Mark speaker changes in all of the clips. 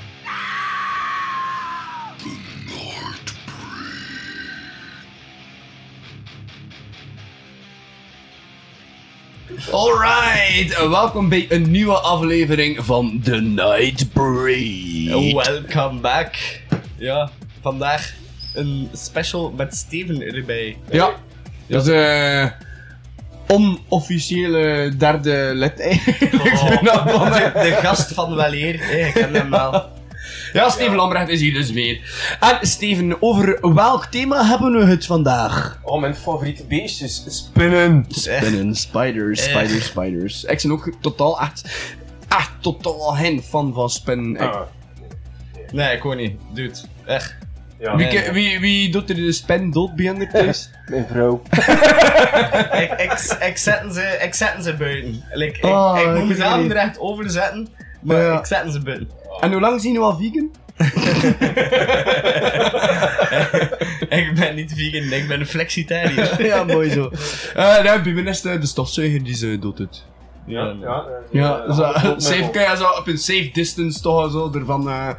Speaker 1: No!
Speaker 2: Alright, welkom bij een nieuwe aflevering van The Night Breed.
Speaker 3: Welcome back. Ja, vandaag een special met Steven erbij.
Speaker 2: Ja, dat is eh onofficiële derde lid eigenlijk.
Speaker 3: Oh, de, de gast van Weleer. Hey, ik ken hem wel.
Speaker 2: Ja, Steven Lambrecht is hier dus weer. En Steven, over welk thema hebben we het vandaag?
Speaker 4: Oh, mijn favoriete beestjes. Spinnen.
Speaker 2: Spinnen, spiders, spiders, spiders. Eh. Ik ben ook totaal echt, echt totaal geen fan van spinnen. Ik-
Speaker 4: Ah,
Speaker 3: Nee, ik hoor niet. Dude, echt.
Speaker 4: ja.
Speaker 2: wie,
Speaker 3: nee, nee.
Speaker 2: wie, wie doet er de spin dood bij in thuis?
Speaker 4: Mijn vrouw.
Speaker 3: Ik, ik, ik, zet ze, ik zet ze buiten. Like, ik,
Speaker 2: Oh,
Speaker 3: ik moet
Speaker 2: ik
Speaker 3: mezelf
Speaker 2: weet
Speaker 3: er echt over zetten, maar
Speaker 2: Ja.
Speaker 3: ik zet ze buiten.
Speaker 2: En hoe lang zijn we al vegan?
Speaker 3: Ik ben niet vegan, ik ben een flexitariër.
Speaker 2: ja, mooi zo. Eh nee, bij mij is de, de stofzuiger die ze doet het.
Speaker 4: Ja, ja. eh,
Speaker 2: Ja,
Speaker 4: eh,
Speaker 2: zo,
Speaker 4: hand op
Speaker 2: safe
Speaker 4: mijn
Speaker 2: kan je zo op een safe distance toch zo ervan. eh,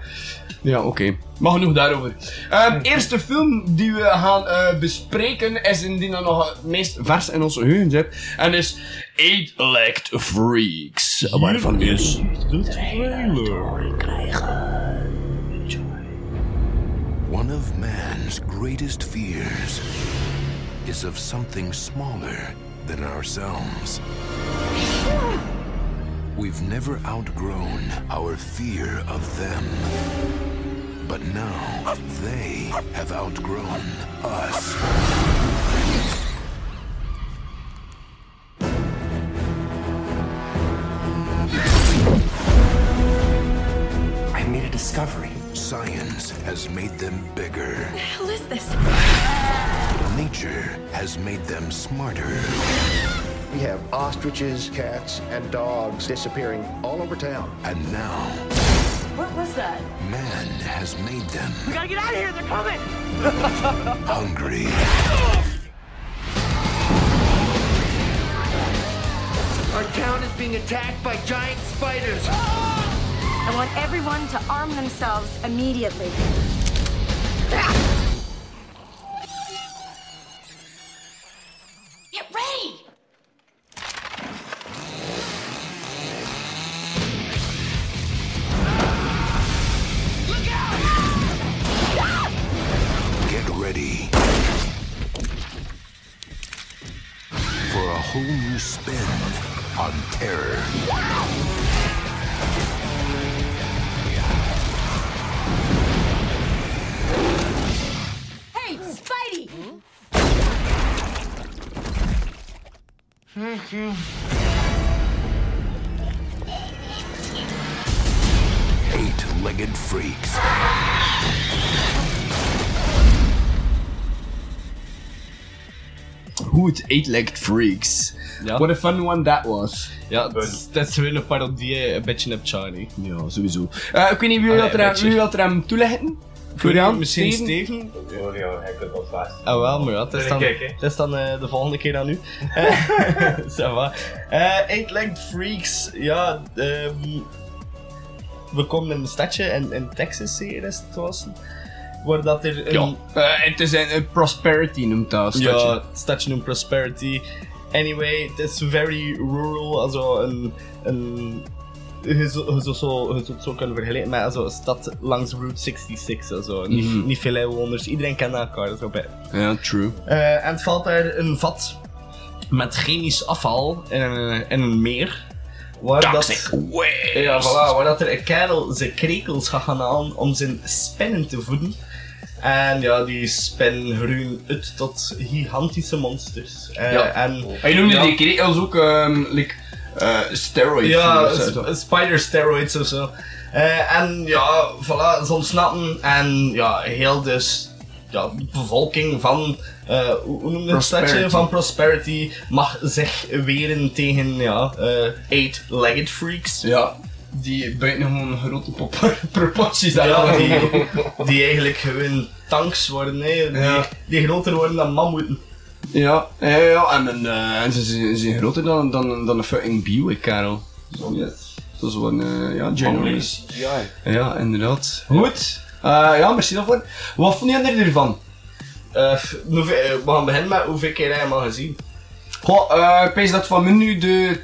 Speaker 2: Ja, oké. Maar genoeg daarover. Ehm, eerste film die we gaan eh, bespreken is indien dat nog het meest vers in onze geheugen zit. En is Eight Legged Freaks. Waarvan is de trailer?
Speaker 5: One of man's greatest fears is of something smaller than ourselves. We've never outgrown our fear of them. But now they have outgrown us.
Speaker 4: I made a discovery.
Speaker 5: Science has made them bigger.
Speaker 1: The hell is this?
Speaker 5: Nature has made them smarter.
Speaker 6: We have ostriches, cats, and dogs disappearing all over town.
Speaker 5: And now
Speaker 1: What was that?
Speaker 5: man has made them
Speaker 7: We gotta get out of here, they're coming!
Speaker 5: hungry.
Speaker 6: Our town is being attacked by giant spiders.
Speaker 1: I want everyone to arm themselves immediately. Get ready!
Speaker 5: Get ready for a whole new spin on terror.
Speaker 1: Hey, Spidey!
Speaker 5: Eight-legged freaks.
Speaker 2: Hoe het Eight Legged Freaks.
Speaker 3: Ja.
Speaker 2: What a fun one that was.
Speaker 3: Ja, het is- het is weer een parodie, een beetje op Charlie.
Speaker 2: Ja, sowieso. Eh, ik weet niet wie wil
Speaker 3: Ah,
Speaker 2: dat
Speaker 3: ja,
Speaker 2: er aan-
Speaker 3: Richard.
Speaker 2: wie wil dat er aan toelichten. Florian,
Speaker 3: Misschien
Speaker 2: Steven?
Speaker 3: Steven?
Speaker 4: Oh ja, hij kunt wel vast.
Speaker 3: Ah wel, maar ja, het is
Speaker 4: Nee,
Speaker 3: dan,
Speaker 4: kijk, hè.
Speaker 3: het is dan eh, de volgende keer aan u. Eh, Ça va. Eh, Eight Legged Freaks, ja, ehm, we komen in een stadje in, in Texas, zeker is het was, waar dat er een...
Speaker 2: Ja. Eh, het is een, een prosperity noemt dat.
Speaker 3: ja,
Speaker 2: stadje.
Speaker 3: het stadje noemt Prosperity. Anyway, het is very rural, also een... een je zou je zou zo, je zou het zo kunnen vergelijken met also, een stad langs Route 66. Also. Niet,
Speaker 2: Mhm.
Speaker 3: niet veel inwoners, iedereen kent elkaar. Zo bij,
Speaker 2: Ja, true.
Speaker 3: eh, en het valt daar een vat met chemisch afval in een, in een meer. Waar dat, ja, voilà, waar dat er een kerel zijn krekels gaat gaan halen om zijn spinnen te voeden. En ja, die spinnen groeien uit tot gigantische monsters. Eh,
Speaker 2: Ja.
Speaker 3: En,
Speaker 2: Hij noemde
Speaker 3: ja,
Speaker 2: die krekels ook ehm like, eh steroids.
Speaker 3: ja,
Speaker 2: of zo.
Speaker 3: sp- spider steroids of zo. Eh, en ja, voilà, ze ontsnappen en ja, heel dus ja, de bevolking van, eh, hoe hoe noem je het
Speaker 2: Prosperity.
Speaker 3: stadje? Van Prosperity mag zich weren tegen ja, eh, eight-legged freaks.
Speaker 2: ja. die buitengewoon grote pop- proporties daar
Speaker 3: Ja,
Speaker 2: hadden.
Speaker 3: die, die eigenlijk gewoon tanks worden, hè. Die,
Speaker 2: Ja.
Speaker 3: die groter worden dan mammoeten.
Speaker 2: Ja, ja, ja, en, een, eh, en ze ze- ze zijn groter dan, dan, dan een fucking Buick, Karel. Dat is wel een, eh, ja,
Speaker 3: Oh,
Speaker 2: Generous. Ja, inderdaad. Goed. Eh, ja, merci daarvoor. Wat vond jij er- ervan?
Speaker 3: Eh, f- hoeveel- eh, we gaan beginnen met hoeveel keer heb je hem al gezien.
Speaker 2: Goh, eh, ik pees dat van me nu de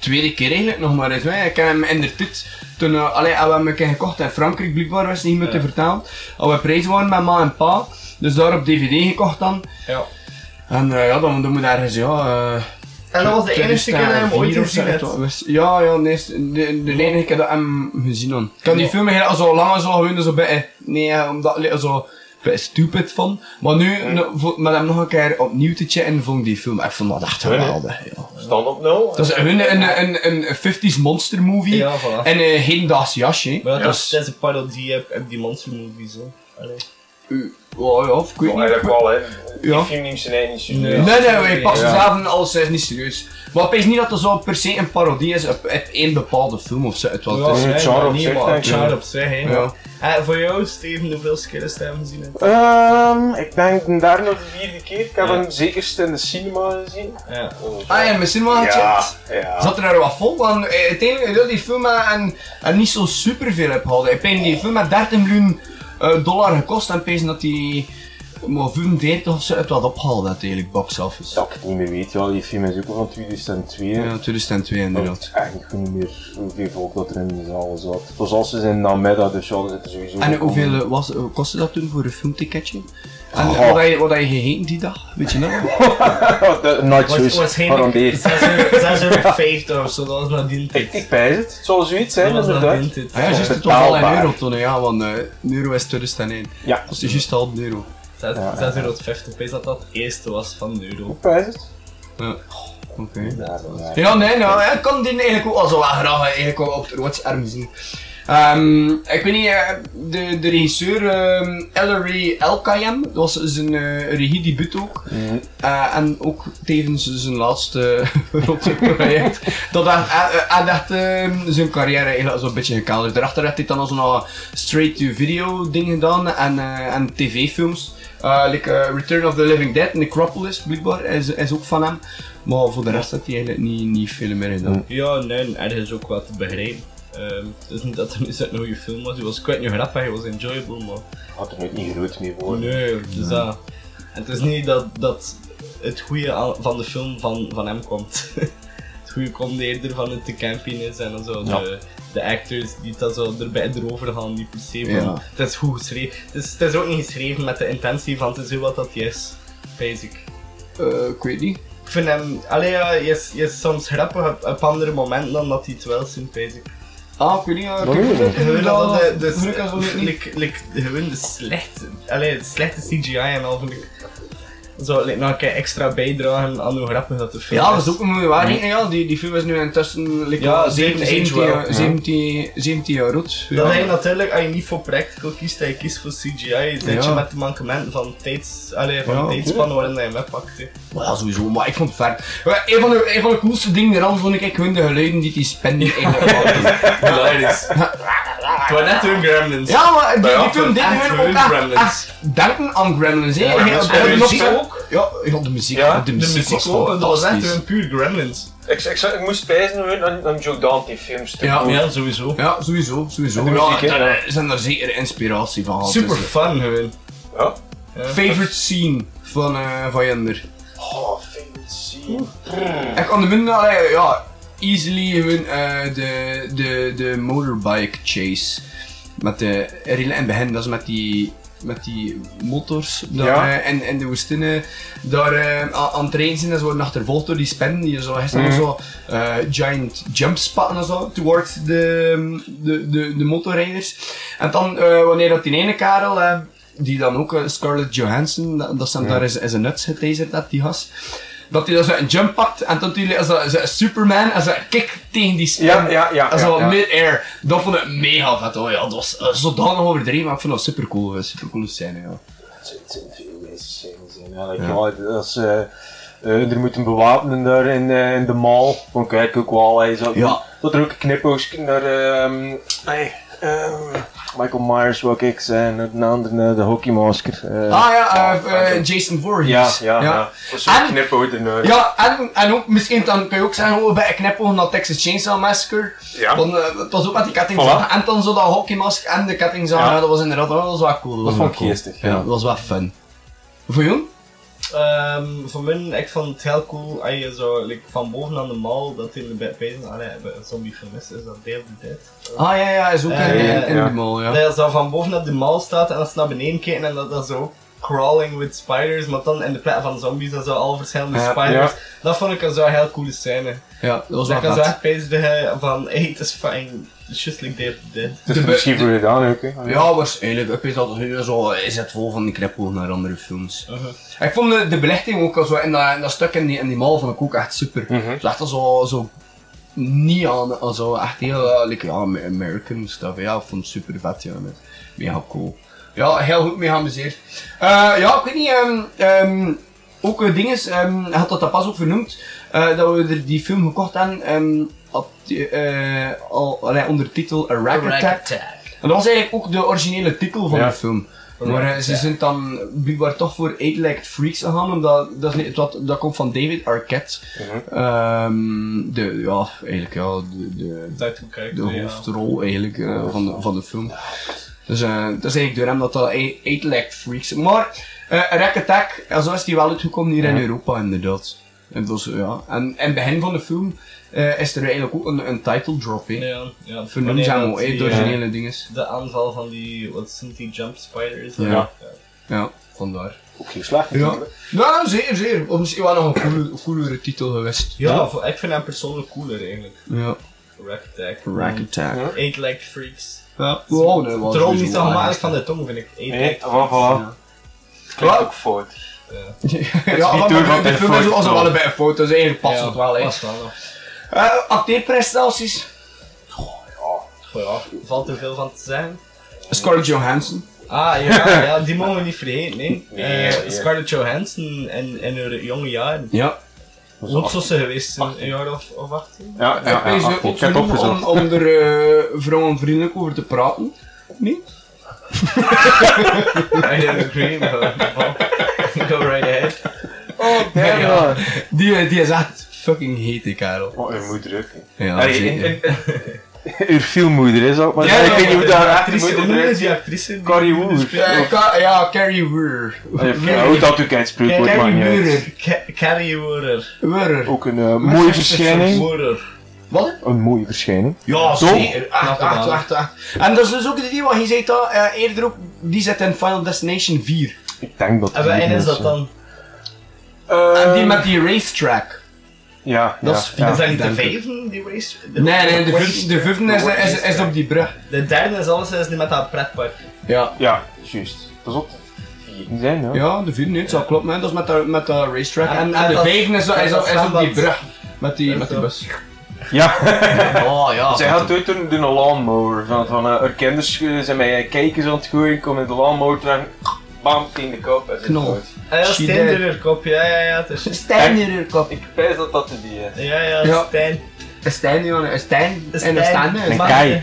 Speaker 2: tweede keer eigenlijk nog maar eens. hè. Ik heb hem in de tijd, toen eh, allee, hebben we hem een keer gekocht in Frankrijk, blijkbaar was het niet meer te vertalen. Al we prijs waren met ma en pa, dus daar op DVD gekocht dan.
Speaker 3: Ja.
Speaker 2: En eh, ja, dan, dan moet ergens, ja... eh,
Speaker 3: En dat was de enige keer dat je hem ooit
Speaker 2: 2004 of
Speaker 3: gezien
Speaker 2: zo,
Speaker 3: hebt.
Speaker 2: het was- Ja, ja, nee, de, de, de enige keer dat ik hem gezien had. Ik had die
Speaker 3: Ja.
Speaker 2: film eigenlijk al zo lang en zo gewoon zo bij, nee, eh, omdat ik er zo een beetje stupid van. Maar nu, no- vo- met hem nog een keer opnieuw te checken, vond ik die film, ik vond dat echt
Speaker 4: nee.
Speaker 2: geweldig, ja.
Speaker 4: Stand op nou.
Speaker 2: Dat is hun een, een, een, een 50s monster movie
Speaker 3: Ja, voilà.
Speaker 2: en een hedendaags jasje. hè.
Speaker 3: Maar ja, dat
Speaker 2: Dus-
Speaker 3: is- dat is een parodie op, op die monster movies, hè. Allee.
Speaker 2: Oh, ja, of ik weet
Speaker 4: Maar
Speaker 2: niet.
Speaker 4: dat wel, hè.
Speaker 2: Ja.
Speaker 4: Die film neemt zijn eigen niet zo
Speaker 3: Nee.
Speaker 4: serieus.
Speaker 2: Nee, nee, wij passen
Speaker 4: Ja.
Speaker 2: zelf en alles is niet serieus. Maar ik denk niet dat er zo per se een parodie is op, op één bepaalde film of zo. Het Dus- wat
Speaker 3: Ja,
Speaker 2: is.
Speaker 4: is een
Speaker 3: nee,
Speaker 4: char
Speaker 3: maar
Speaker 4: op
Speaker 3: niet,
Speaker 4: zich,
Speaker 3: maar
Speaker 4: denk
Speaker 3: een
Speaker 4: ik.
Speaker 3: char op zich, hè.
Speaker 2: Ja.
Speaker 3: Eh, voor jou, Steven, hoeveelste keer is hij hem gezien? hebt?
Speaker 4: Ehm, ik denk de derde of de vierde keer. Ik heb hem zekerst in de cinema gezien.
Speaker 3: Ja.
Speaker 2: Ah ja, misschien wel
Speaker 4: Ja,
Speaker 2: gecheckt.
Speaker 4: ja.
Speaker 2: Zat er daar wat vol? Want eh, uiteindelijk wil die film maar en, en niet zo superveel heb gehouden. Ik denk die film met 30 miljoen eh, dollar gekost en pees dat die maar 35 of zo het wat opgehaald uiteindelijk box office.
Speaker 4: Dat ik het niet meer weet, ja, die film is ook al van 2002.
Speaker 2: Ja, 2002
Speaker 4: Ik
Speaker 2: inderdaad.
Speaker 4: weet eigenlijk niet meer hoeveel volk dat er in de zaal zat. Het was als ze zijn namiddag, dus ja, dat zit er sowieso.
Speaker 2: En
Speaker 4: wel
Speaker 2: hoeveel
Speaker 4: om.
Speaker 2: eh, was, eh, kostte dat toen voor een filmticketje? En
Speaker 4: Oh.
Speaker 2: wat had je, wat had je gegeten die dag? Weet je nog? eh,
Speaker 4: Ah, de- Night
Speaker 3: Was, was
Speaker 4: Shoes,
Speaker 3: geen
Speaker 4: garandeerd.
Speaker 3: 56 of zo, dat was nadien
Speaker 4: Ik,
Speaker 3: dit.
Speaker 4: ik pijs het, het zal zoiets zijn,
Speaker 3: Dat was
Speaker 4: inderdaad.
Speaker 3: nadien dit.
Speaker 2: Ah ja, juist het was al een
Speaker 4: Betaalbaar.
Speaker 2: euro toen, hè, ja, want eh, een euro is 2001.
Speaker 4: Ja,
Speaker 2: Dat is juist half een euro.
Speaker 3: 6,50 euro, is dat dat het eerste was van de euro.
Speaker 4: ik pijs het.
Speaker 2: Ja. Oké.
Speaker 4: Ja, eh, ja.
Speaker 2: Ja, nee, nou, ik kan die eigenlijk ook wel zo wel graag eh, eigenlijk wel op het rood scherm zien. Ehm, ik weet niet, eh, de, de regisseur ehm Ellery Elkayem, dat was zijn eh regiedebuut ook. Eh, en ook tevens zijn laatste grote project. Dat hij, hij, hij dacht ehm, zijn carrière eigenlijk zo'n beetje gekaderd. Daarachter heeft hij dan al zo'n eh, straight-to-video ding gedaan en, eh, en tv-films. Eh, like, eh, Return of the Living Dead, Necropolis, blijkbaar, is, is ook van hem. Maar voor de rest heeft hij eigenlijk niet, niet veel meer gedaan.
Speaker 3: Ja, nee, ergens ook wel te begrijpen. Ehm, het is niet dat er nu zo'n goede film was, die was kwijt nu grappig, hij was enjoyable, maar...
Speaker 4: Had er nooit niet groot mee voor.
Speaker 3: Nee, dus dat... En het is niet dat, dat het goede aan- van de film van, van hem komt. het goede komt eerder van het te camping is en dan zo de, de actors die dat zo erbij erover gaan, die per se van...
Speaker 2: Ja.
Speaker 3: Het is goed geschreven. Het is, het is ook niet geschreven met de intentie van het is hoe wat dat is, basic.
Speaker 2: Eh, ik weet niet.
Speaker 3: Ik vind hem, allee ja, je is, je is soms grappig op, op andere momenten dan dat hij het wel zingt, weet ik.
Speaker 2: Ah, ik weet niet. eh,
Speaker 4: Waarom
Speaker 2: ik-
Speaker 4: niet?
Speaker 3: Gewoon al de, dus de,
Speaker 2: Vroeger was het niet.
Speaker 3: like- like, gewoon de slechte, allee, de slechte CGI en al vind ik. Zo, like, nog een keer extra bijdragen aan hoe grappig dat de film
Speaker 2: Ja,
Speaker 3: is.
Speaker 2: dat is ook een mooie waarheid. Ja, die, die film is nu intussen like,
Speaker 3: Ja,
Speaker 2: al
Speaker 3: het
Speaker 2: zeven-
Speaker 3: age
Speaker 2: 17
Speaker 3: wel.
Speaker 2: jaar-
Speaker 3: Ja.
Speaker 2: 17 17 jaar oud.
Speaker 3: Dat
Speaker 2: Ja.
Speaker 3: hij natuurlijk, als je niet voor practical kiest, dat je kiest voor CGI, zit
Speaker 2: Ja.
Speaker 3: je met de mankementen van tijds, allee, van
Speaker 2: Ja,
Speaker 3: de tijdspan waarin hij hem weppakt. hè.
Speaker 2: Maar ja, sowieso, maar ik vond het ver. Maar Een van de, een van de coolste dingen eraan vond ik gewoon de geluiden die die spending eigenlijk hadden.
Speaker 3: Hilarisch. Het was net hun Gremlins.
Speaker 2: Ja, maar die,
Speaker 3: ja,
Speaker 2: die film deed
Speaker 3: echt
Speaker 2: hun
Speaker 3: gewoon
Speaker 2: ook echt,
Speaker 3: Gremlins.
Speaker 2: echt denken aan Gremlins. hè.
Speaker 3: Ja,
Speaker 2: Heel-
Speaker 3: dat is-
Speaker 2: heel-
Speaker 3: en de
Speaker 2: nog-
Speaker 3: muziek ook.
Speaker 2: Ja, ja, de muziek.
Speaker 4: Ja,
Speaker 2: de
Speaker 3: De
Speaker 2: muziek,
Speaker 3: muziek
Speaker 2: was
Speaker 3: ook, dat was echt
Speaker 2: fantastisch.
Speaker 3: hun puur Gremlins.
Speaker 4: Ik, ik, ik, moest pijzen gewoon aan, aan Joe Dante films te
Speaker 2: Ja,
Speaker 4: komen.
Speaker 3: Ja, sowieso.
Speaker 2: Ja, sowieso, sowieso.
Speaker 4: En de
Speaker 2: Ja,
Speaker 4: muziek, hè?
Speaker 2: daar eh, zijn er zeker inspiratie van. gehad.
Speaker 3: Super
Speaker 2: Dus, eh,
Speaker 3: fun gewoon.
Speaker 4: Ja.
Speaker 2: Favorite scene van, eh van Jender?
Speaker 4: Oh, favorite scene.
Speaker 2: Ik kan de minder, allee, ja, easily gewoon eh, de, de, de motorbike chase. Met de Rille en Begin, dat is met die, met die motors daar,
Speaker 4: Ja.
Speaker 2: eh, in, in de woestijnen. Daar eh, aan- aan het rijden zijn en ze worden achtervolgd door die spinnen die zo gisteren
Speaker 4: Mhm.
Speaker 2: zo eh, giant jumps spatten en zo, towards de, de, de, de motorrijders. En dan, eh, wanneer dat die ene karel, eh, die dan ook eh, Scarlett Johansson, dat, dat zijn daar is, is een nuts getaserd dat die gast. Dat hij dan zo een jump pakt en dat hij als dat- zo Superman en zo kick tegen die spin.
Speaker 4: Ja, ja, ja,
Speaker 2: En zo
Speaker 4: ja, ja.
Speaker 2: mid-air. Dat vond ik mega vet. Oh ja, dat was eh, zodanig overdreven, maar ik vond dat super cool. Super cool scène, ja.
Speaker 4: Het zijn- het zijn veel mensen zijn. Ja, like, ja. Nou, dat is... eh, eh, er moet een bewapenen daar in, eh, in de mall. Gewoon kijk ook wel, hij zat.
Speaker 3: Ja.
Speaker 4: Zat er ook een knipoogje naar ehm, hey, ehm, Michael Myers, wou ik zijn, en een ander naar de hockeymasker. eh.
Speaker 2: Ah ja, eh,
Speaker 4: ja,
Speaker 2: eh, Jason Voorhees.
Speaker 4: ja, ja, ja. Zo'n
Speaker 2: En-
Speaker 4: knipoog ernaar.
Speaker 2: Ja, en, en ook, misschien dan kun je ook zeggen, oh, bij een knipoog naar Texas Chainsaw Massacre.
Speaker 4: Ja.
Speaker 2: Want eh, het was ook met die kettingzaag.
Speaker 4: Voilà.
Speaker 2: En dan zo dat hockeymask en de kettingzaag.
Speaker 4: Ja.
Speaker 2: Ja, dat was inderdaad dat was wel cool.
Speaker 4: Dat
Speaker 2: was wel
Speaker 4: vond ik
Speaker 2: cool.
Speaker 4: geestig,
Speaker 2: Ja.
Speaker 4: ja.
Speaker 2: dat was wel fun. Voor jou?
Speaker 3: Ehm, voor mij, ik vond het heel cool als je zo like, van boven aan de mal dat in de bed bezig allee, bij een zombie gemist is, dat deelde dit.
Speaker 2: Ah ja, ja, is ook in,
Speaker 3: Eh,
Speaker 2: in, in
Speaker 4: ja.
Speaker 2: de mall, ja.
Speaker 3: Dat je zo van boven op de mal staat en dan naar beneden kijkt en dat dat zo crawling with spiders, maar dan in de plek van zombies en zo al verschillende
Speaker 4: Ja,
Speaker 3: spiders.
Speaker 4: ja.
Speaker 3: Dat vond ik een zo heel coole scène.
Speaker 2: Ja, dat was
Speaker 3: Dat ik
Speaker 2: wel
Speaker 3: zo
Speaker 2: vet.
Speaker 3: echt bezig eh, van, hey, het is fijn, just like Dead Dead.
Speaker 4: Het
Speaker 2: de
Speaker 4: is
Speaker 2: bu-
Speaker 4: misschien voor gedaan ook, hè.
Speaker 2: Ja, waarschijnlijk. Ik weet dat het zo is het vol van die knipoog naar andere films. Ik vond de, de belichting ook al zo in dat, in dat stuk in die, in die mall vond ik ook echt super. Het was echt al zo, zo neon, al zo echt heel eh, like, ja, Amer- American stuff. Ja, ik vond het super vet, ja. met- Mega cool. Ja, heel goed mee geamuseerd. Eh, ja, ik weet niet, ehm, ehm, ook eh, ding is, ehm, hij had dat daar pas ook vernoemd, eh, dat we er die film gekocht hebben, ehm, had die, eh, al, allee, onder titel A Rack Attack. En dat was eigenlijk ook de originele titel van
Speaker 4: Ja.
Speaker 2: de film. Maar eh, ze
Speaker 3: Ja.
Speaker 2: zijn dan blijkbaar toch voor Eight Legged Freaks gegaan, omdat dat, is niet- dat, dat komt van David Arquette.
Speaker 3: Mhm.
Speaker 2: Ehm, de, ja, eigenlijk ja, de, de,
Speaker 3: Dat ik ook kijk,
Speaker 2: de
Speaker 3: ja.
Speaker 2: hoofdrol eigenlijk, eh, van, de, van de film. Dus eh, dat is eigenlijk door hem dat dat Eight Eight Legged Freaks. Maar eh Rack Attack, ja, zo is die wel uitgekomen hier in Europa inderdaad. En, dat is, ja. en in het begin van de film eh, is er eigenlijk ook een, een title drop. hè.
Speaker 3: Ja, ja.
Speaker 2: Vernoemd
Speaker 3: Wanneer
Speaker 2: zijn
Speaker 3: dat
Speaker 2: we, hè,
Speaker 3: die,
Speaker 2: de
Speaker 3: eh,
Speaker 2: originele dinges.
Speaker 3: De aanval van die, wat zijn die jump spiders? eh,
Speaker 2: Ja.
Speaker 3: ja.
Speaker 2: Ja, vandaar.
Speaker 4: Ook geen slecht.
Speaker 2: Ja, ja zeer, zeer. Of misschien wel nog een coolere, coolere titel geweest.
Speaker 3: Ja, voor- ik vind hem persoonlijk cooler eigenlijk.
Speaker 2: Ja.
Speaker 3: Rack Attack.
Speaker 2: Rack Attack. Ja.
Speaker 3: Eight Legged Freaks.
Speaker 2: Wow, dat was
Speaker 3: Droom niet
Speaker 2: sowieso
Speaker 3: zo gemakkelijk
Speaker 2: wel
Speaker 3: van de tong, vind ik. Eight
Speaker 4: Nee,
Speaker 3: Legged
Speaker 4: voilà.
Speaker 2: Ja.
Speaker 4: Klinkt ook fout.
Speaker 2: echt. Ja, maar
Speaker 4: niet door
Speaker 2: de-
Speaker 4: van
Speaker 2: de
Speaker 4: de
Speaker 2: film is
Speaker 4: foto.
Speaker 2: ook wel een beetje fout, dus eigenlijk past
Speaker 3: Ja,
Speaker 2: het wel. hè.
Speaker 3: Past wel nog.
Speaker 2: Eh, acteerprestaties.
Speaker 3: Goh, ja, valt er veel van te zeggen.
Speaker 2: Scarlett Johansson.
Speaker 3: Ah ja, ja die mogen we niet vergeten, nee. Eh,
Speaker 4: nee.
Speaker 3: Scarlett Johansson in, in haar jonge jaren.
Speaker 2: Ja.
Speaker 3: Hoe zo ze geweest zijn, een jaar of, of 18?
Speaker 4: Ja, ja, ja,
Speaker 2: Hij is
Speaker 4: ach, ik heb het
Speaker 2: opgenomen om, om
Speaker 4: opgezocht.
Speaker 2: er eh, vrouwenvriendelijk over te praten. Nee?
Speaker 3: I don't agree, but well, go right ahead.
Speaker 2: Oh, damn. Ja. Die, eh, die is echt fucking heet, die kerel.
Speaker 4: Wat een Oh, moeder ook. hè.
Speaker 2: Ja,
Speaker 4: Allee,
Speaker 2: zeker.
Speaker 4: en- Uw filmmoeder is dat, maar
Speaker 2: Ja,
Speaker 4: ik weet niet hoe dat haar echte
Speaker 3: actrice, hoe
Speaker 4: moeder
Speaker 3: is
Speaker 4: is.
Speaker 3: die actrice? die-
Speaker 4: Carrie Woer.
Speaker 2: Eh, Ka- ja, Carrie Wurr.
Speaker 4: Ja, Hoe dat ook uitspreekt wordt, maar
Speaker 2: Carrie
Speaker 4: niet uit.
Speaker 2: Wurr.
Speaker 3: Ca- Carrie Woerer.
Speaker 2: Wurr.
Speaker 4: Ook een eh, mooie verschijning.
Speaker 3: Woerer.
Speaker 2: Wat?
Speaker 4: Een mooie verschijning.
Speaker 2: Ja,
Speaker 4: Toch?
Speaker 2: zeker. Echt,
Speaker 3: Knap
Speaker 2: echt,
Speaker 3: gedaan.
Speaker 2: echt, echt. En dat is dus ook de die wat je zei dat eh, eerder ook, die zit in Final Destination 4.
Speaker 4: Ik denk dat
Speaker 2: Ah,
Speaker 3: En
Speaker 4: die
Speaker 3: waarin is dat
Speaker 4: mensen-
Speaker 3: dan?
Speaker 4: Eh,
Speaker 2: en Ah, die met die racetrack.
Speaker 4: Ja,
Speaker 2: Dat
Speaker 4: ja,
Speaker 2: is
Speaker 4: ja.
Speaker 3: is dat niet de
Speaker 2: denk ik.
Speaker 3: vijfde, die race? de-
Speaker 2: Nee, nee, de
Speaker 3: race-
Speaker 2: vijfde, de vijfde is, is, is op die brug.
Speaker 3: De derde is alles is niet met dat pretpark. Ah
Speaker 2: Ja.
Speaker 4: Ja, juist. Pas op. Vier zijn, ja.
Speaker 2: Ja, de vierde, nee, dat klopt, hè. dat is met de, met de racetrack.
Speaker 3: En-
Speaker 2: En,
Speaker 3: en
Speaker 2: en de
Speaker 3: dat-
Speaker 2: vijfde is,
Speaker 3: en
Speaker 2: is,
Speaker 3: dat
Speaker 2: op- is op die
Speaker 3: zwembad.
Speaker 2: brug. Met die, met die
Speaker 3: zo.
Speaker 2: bus.
Speaker 4: Ja.
Speaker 2: Oh ja.
Speaker 4: Zij had ooit een, een lawnmower. Van, van eh, haar kinders eh, zijn mij eh, kijkers aan het gooien, komen in de lawnmower terug. Bam, in de kop. en ze is
Speaker 2: Knol.
Speaker 4: dood.
Speaker 3: Ah, ja,
Speaker 2: She
Speaker 3: Stijn
Speaker 2: dead.
Speaker 3: door haar kop, ja, ja, ja, het is...
Speaker 2: Stijn in haar kop.
Speaker 4: Ik pijs dat dat de die eh, is.
Speaker 3: Ja, ja,
Speaker 2: Ja.
Speaker 3: Stijn.
Speaker 2: Stijn, jongen. Stijn. En een
Speaker 3: Stijn.
Speaker 2: Stijn. hè.
Speaker 3: Maak
Speaker 4: kei.
Speaker 3: de-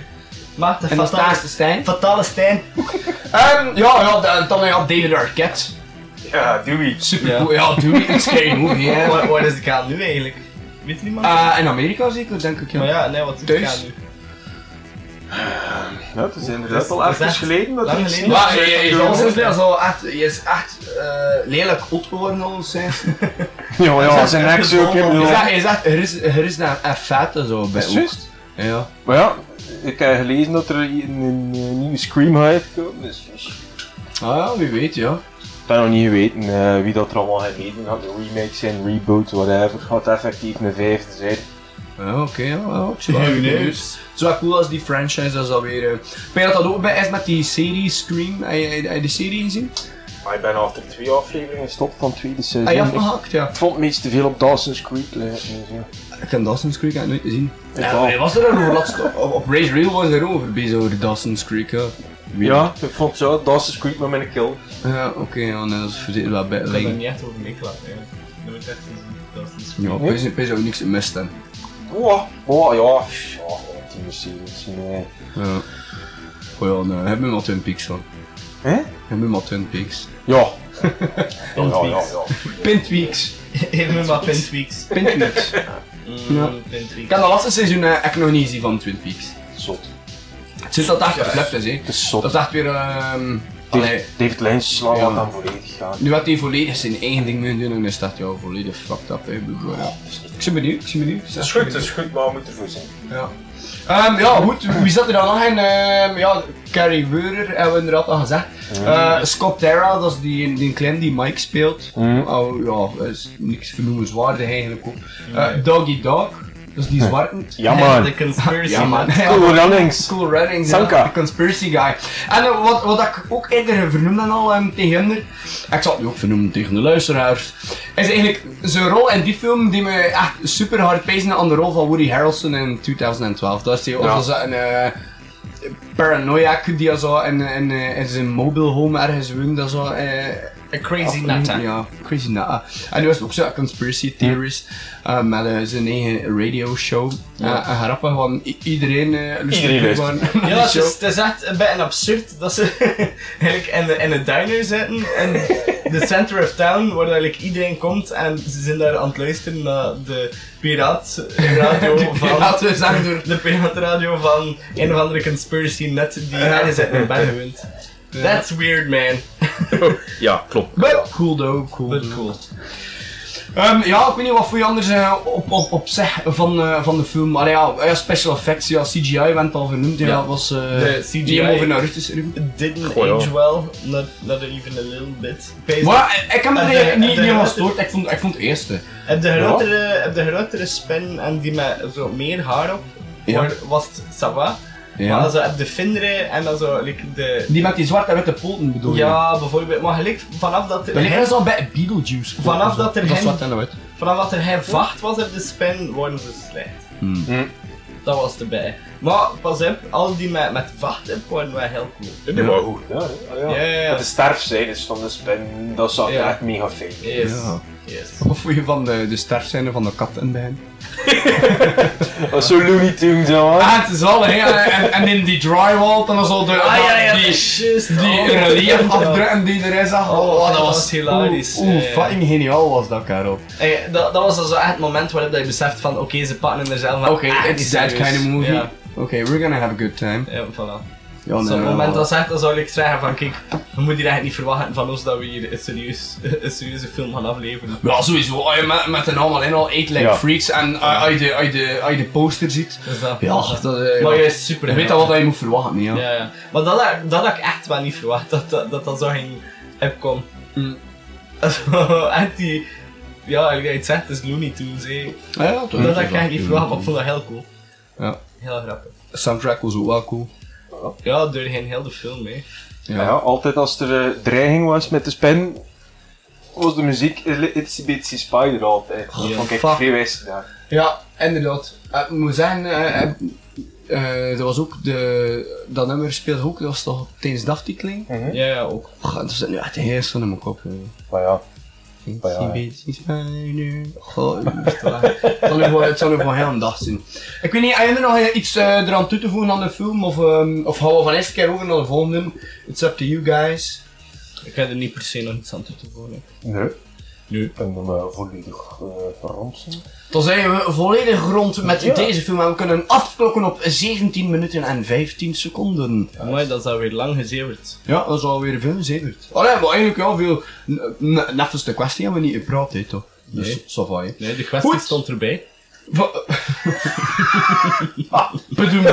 Speaker 3: Maak de
Speaker 2: En een
Speaker 3: fatale,
Speaker 2: staarste Stijn.
Speaker 3: fatale Stijn.
Speaker 2: Ehm, ja, ja, dan- dan ja, David Arquette.
Speaker 4: Ja, doei.
Speaker 2: Super cool. Ja, doe je. Een scary movie, hè.
Speaker 3: Waar, waar is de kraan nu eigenlijk? Weet niemand?
Speaker 2: Eh, in Amerika zeker, denk ik. Ja.
Speaker 3: Maar ja, nee, wat doet de
Speaker 2: Thuis?
Speaker 3: kraan nu?
Speaker 4: Ja, het is
Speaker 3: Dat
Speaker 4: inderdaad
Speaker 3: is-
Speaker 4: al
Speaker 3: dat is
Speaker 4: even
Speaker 3: echt
Speaker 4: geleden dat
Speaker 3: lang
Speaker 4: ik-
Speaker 3: geleden.
Speaker 2: Maar je, je, je, je, je, zo echt, je is echt eh, lelijk oud geworden al sinds.
Speaker 4: Ja, ja, zijn
Speaker 3: echt
Speaker 4: ex ook.
Speaker 3: gevonden.
Speaker 2: Je
Speaker 4: hè, bedoel.
Speaker 2: is echt- je is echt gerust- gerust naar een fete zo bij
Speaker 4: Is het juist?
Speaker 2: Ja.
Speaker 4: Maar ja, ik heb gelezen dat er een, een, een nieuwe Scream uitgekomen is. Dus ik
Speaker 2: Ah ja, wie weet ja.
Speaker 4: ben nog niet geweten eh, wie dat er allemaal geleden had. Remakes en reboots, whatever. Gaat effectief een vijfde zijn.
Speaker 2: Ja, oké, ja, ja, ik zie wel. Het is wel cool als die franchise dat is alweer... eh, Ik weet dat dat ook bij is met die serie Scream. Heb je- heb je die serie gezien?
Speaker 4: Maar ik ben achter twee afleveringen gestopt van het tweede seizoen.
Speaker 2: Heb je
Speaker 4: ik
Speaker 2: afgehakt, ja.
Speaker 4: vond het meest te veel op Dawson's Creek lijken. Dus, ja.
Speaker 2: Ik heb Dawson's Creek eigenlijk nooit gezien.
Speaker 4: Ik wel.
Speaker 2: was er over laatst? Op, op Race Rail was er over bezig over Dawson's Creek, ja.
Speaker 4: ja, ik vond zo Dawson's Creek met mijn kill.
Speaker 2: Ja, oké, ja, nee, dat is voor dit wel bij-
Speaker 3: Ik kan er
Speaker 2: like-
Speaker 3: niet echt over meeklappen, eigenlijk. nooit echt in zo'n podcast
Speaker 2: Ja, wees, wees ook niks gemist hè.
Speaker 4: Oh, oh ja. Ja, die misschien, misschien. eh.
Speaker 2: Ja. Oh ja, nee, heb je maar Twin Peaks van.
Speaker 4: Hè?
Speaker 2: Heb je maar Twin Peaks.
Speaker 4: Ja. Ja, ja, ja, ja.
Speaker 2: Pintweeks.
Speaker 3: Even met wat Pintweeks.
Speaker 2: Pintweeks. Ja. Ik heb dat laatste seizoen eh, echt nog niet zien van Twin Peaks.
Speaker 4: Zot.
Speaker 2: Het zit dat echt geflipt is hè.
Speaker 4: Het is
Speaker 2: Dat
Speaker 4: zot.
Speaker 2: is echt weer... ehm allee,
Speaker 4: David, David Lynch slaat
Speaker 2: Ja.
Speaker 4: dat dan volledig gaan.
Speaker 2: nu had hij volledig zijn eigen ding moeten doen en is dat ja, volledig fucked up hè. Ik bedoel, ja. Ik ben benieuwd, ik ben benieuwd.
Speaker 4: Het is goed, het is goed, maar we moeten ervoor zijn.
Speaker 2: Ja. Ehm, ja, goed. Wie zat er dan nog in? Ehm, ja, Carrie Weurer hebben we inderdaad al gezegd. Eh, Scott Terra, dat is die, die klein die Mike speelt. Oh, ja, is niks vernoemenswaardig eigenlijk ook. Eh, Doggy Dog, dat is die zwarte.
Speaker 4: Ja, man.
Speaker 3: De conspiracy.
Speaker 2: Ja, man.
Speaker 4: Cool runnings.
Speaker 2: Cool Runnings,
Speaker 4: Sanka.
Speaker 2: ja, de conspiracy guy. En eh, wat, wat ik ook eerder vernoemde al ehm, tegen hem, ik zal het nu ook vernoemen tegen de luisteraars, is eigenlijk zijn rol in die film die me echt super hard pezen aan de rol van Woody Harrelson in 2012. Dat is die, of
Speaker 4: Ja.
Speaker 2: dat is een eh, paranoiac die zo in, in, eh, in zijn mobile home ergens woont, dat zo... eh,
Speaker 3: A crazy natta.
Speaker 2: ja, Crazy Nata. En nu was het ook zo'n conspiracy theorist eh, met eh, zijn eigen radio show. Ja. en grappig, want i- iedereen eh
Speaker 4: Iedereen
Speaker 2: gewoon naar
Speaker 3: Ja,
Speaker 2: die
Speaker 3: het
Speaker 2: show.
Speaker 3: is, het is echt een beetje absurd dat ze eigenlijk in de, in de diner zitten, in de center of town, waar eigenlijk iedereen komt en ze zijn daar aan het luisteren naar de piratenradio van...
Speaker 2: Laten we zeggen door.
Speaker 3: De piratenradio van een of andere conspiracy net die ergens in een bed gewint. That's weird, man.
Speaker 4: Ja, klopt.
Speaker 2: But cool though, cool.
Speaker 3: But
Speaker 2: though.
Speaker 3: cool.
Speaker 2: Ehm, ja, ik weet niet wat voor je anders eh, op, op, op zich van, eh, van de film. Maar ja, eh, special effects, ja, CGI, we hebben het al genoemd. Ja,
Speaker 3: Ja.
Speaker 2: dat was. eh
Speaker 3: De CGI.
Speaker 2: Die hem over naar rust is erin.
Speaker 3: It didn't
Speaker 4: Goh, ja.
Speaker 3: age well, not, not even a little bit. Basically.
Speaker 2: Maar eh, ik heb me
Speaker 3: En
Speaker 2: er
Speaker 3: de-
Speaker 2: eigenlijk
Speaker 3: en
Speaker 2: niet
Speaker 3: de-
Speaker 2: niet helemaal gestoord, ik vond, ik vond het eerste.
Speaker 3: Heb de grotere, heb de grotere spin en die met zo meer haar op,
Speaker 2: Ja.
Speaker 3: waar was het ça va.
Speaker 2: Ja.
Speaker 3: Maar dan zo heb de vindere en dan zo like, de...
Speaker 2: Die met die zwarte en witte poten bedoel je?
Speaker 3: Ja, bijvoorbeeld, maar gelijk vanaf dat
Speaker 2: Dat
Speaker 3: er,
Speaker 2: lijkt al bij Beetlejuice.
Speaker 3: Vanaf dat er
Speaker 2: Dat is
Speaker 3: geen-
Speaker 2: zwart en wit.
Speaker 3: vanaf dat er geen vacht was op de spin, worden ze slecht.
Speaker 4: Hmm.
Speaker 3: Dat was erbij. Maar pas op, al die met, met vacht op worden wel heel cool.
Speaker 4: Ja, maar goed. Ja, ja.
Speaker 3: Ja, ja, ja.
Speaker 4: De sterfzijde stond dus bij, dat zag
Speaker 3: Ja.
Speaker 4: echt mega fijn.
Speaker 3: Yes.
Speaker 2: Ja.
Speaker 3: Yes.
Speaker 2: Of vond je van de, de sterfscène van de kat en de hen?
Speaker 4: Dat was zo Looney Tunes, ja, man.
Speaker 2: Ah, het is al, hè. En, en in die drywall, dan is al de...
Speaker 3: Ah ja, ja,
Speaker 2: die,
Speaker 3: juist.
Speaker 2: die
Speaker 3: Oh,
Speaker 2: relief
Speaker 3: ja.
Speaker 2: afdrukken die er is. Oh, dat
Speaker 3: Oh, dat
Speaker 2: was
Speaker 3: was hilarisch.
Speaker 2: Oeh, oeh,
Speaker 3: Eh.
Speaker 2: fucking geniaal was dat, Karel.
Speaker 3: Hey, dat, dat was dan zo echt het moment waarop dat je beseft van oké, ze pakken er zelf maar echt niet serieus. Ja,
Speaker 2: Ah, Oké, we're gonna have a good time.
Speaker 3: ja voilà.
Speaker 2: Ja,
Speaker 3: Op
Speaker 2: nee,
Speaker 3: zo'n
Speaker 2: ja.
Speaker 3: moment als echt, dan zou ik zeggen van kijk, we moeten hier echt niet verwachten van ons dat we hier een, serieus, een serieuze film gaan afleveren.
Speaker 2: Ja, sowieso. Als je met, met de naam alleen al Eight Like
Speaker 4: Ja.
Speaker 2: Freaks en eh, als je de- als je de- als je de poster ziet...
Speaker 3: Dus dat,
Speaker 2: Ja,
Speaker 3: dat-
Speaker 2: dat... eh,
Speaker 3: maar
Speaker 2: ja.
Speaker 3: je is super.
Speaker 2: Je weet al wat je moet verwachten, hè, ja.
Speaker 3: Ja, ja. Maar dat, had- dat had ik echt wel niet verwacht, dat dat, dat, dat zo ging opkomen.
Speaker 2: Mm.
Speaker 3: Zo, echt die... Ja, ik het zegt, het is Looney Tunes, hé.
Speaker 2: Ja, ja,
Speaker 3: Dat had ik echt niet verwacht, maar ik vond dat heel cool.
Speaker 2: Ja.
Speaker 3: Heel grappig.
Speaker 2: soundtrack was ook wel cool.
Speaker 3: Ja, doorheen heel de film, hè.
Speaker 4: Ja. altijd als er eh, dreiging was met de spin, was de muziek Itsy Bitsy Spider altijd. Dat
Speaker 2: Ja,
Speaker 4: vond ik
Speaker 2: fuck.
Speaker 4: vrij wijs gedaan.
Speaker 2: Ja, inderdaad. Eh, Ik moet zeggen, eh, eh, eh, er was ook de, dat nummer speelde ook, dat was toch tijdens Daftikling?
Speaker 4: Mhm.
Speaker 3: Ja, ja, ook.
Speaker 2: Och, dat is nu echt de heerst van in mijn kop.
Speaker 4: Maar ja, ja, ja.
Speaker 2: Een beetje spider. eh, Goh, echt waar. Het zal nu voor- Het zal nu voor heel een dag zijn. Ik weet niet, heb je er nog eh, iets eh, eraan toe te voegen aan de film? Of, ehm, of gaan we van eerste keer over naar de volgende? It's up to you guys.
Speaker 3: Ik heb er niet per se nog iets aan toe te voegen.
Speaker 4: nee.
Speaker 3: Nu.
Speaker 4: Ik ben hem eh, volledig eh, verramsen.
Speaker 2: Dan zijn we volledig rond met deze film en we kunnen afklokken op 17 minuten en 15 seconden.
Speaker 3: Mooi, dat is alweer lang gezeverd.
Speaker 2: Ja, dat is alweer veel gezeverd. Allee, maar eigenlijk ja, veel... n- n- Neffens de kwestie hebben we niet gepraat, hè, toch? Dus,
Speaker 3: Nee.
Speaker 2: savaai.
Speaker 3: Nee, de kwestie
Speaker 2: Goed.
Speaker 3: stond erbij.
Speaker 2: Bedoel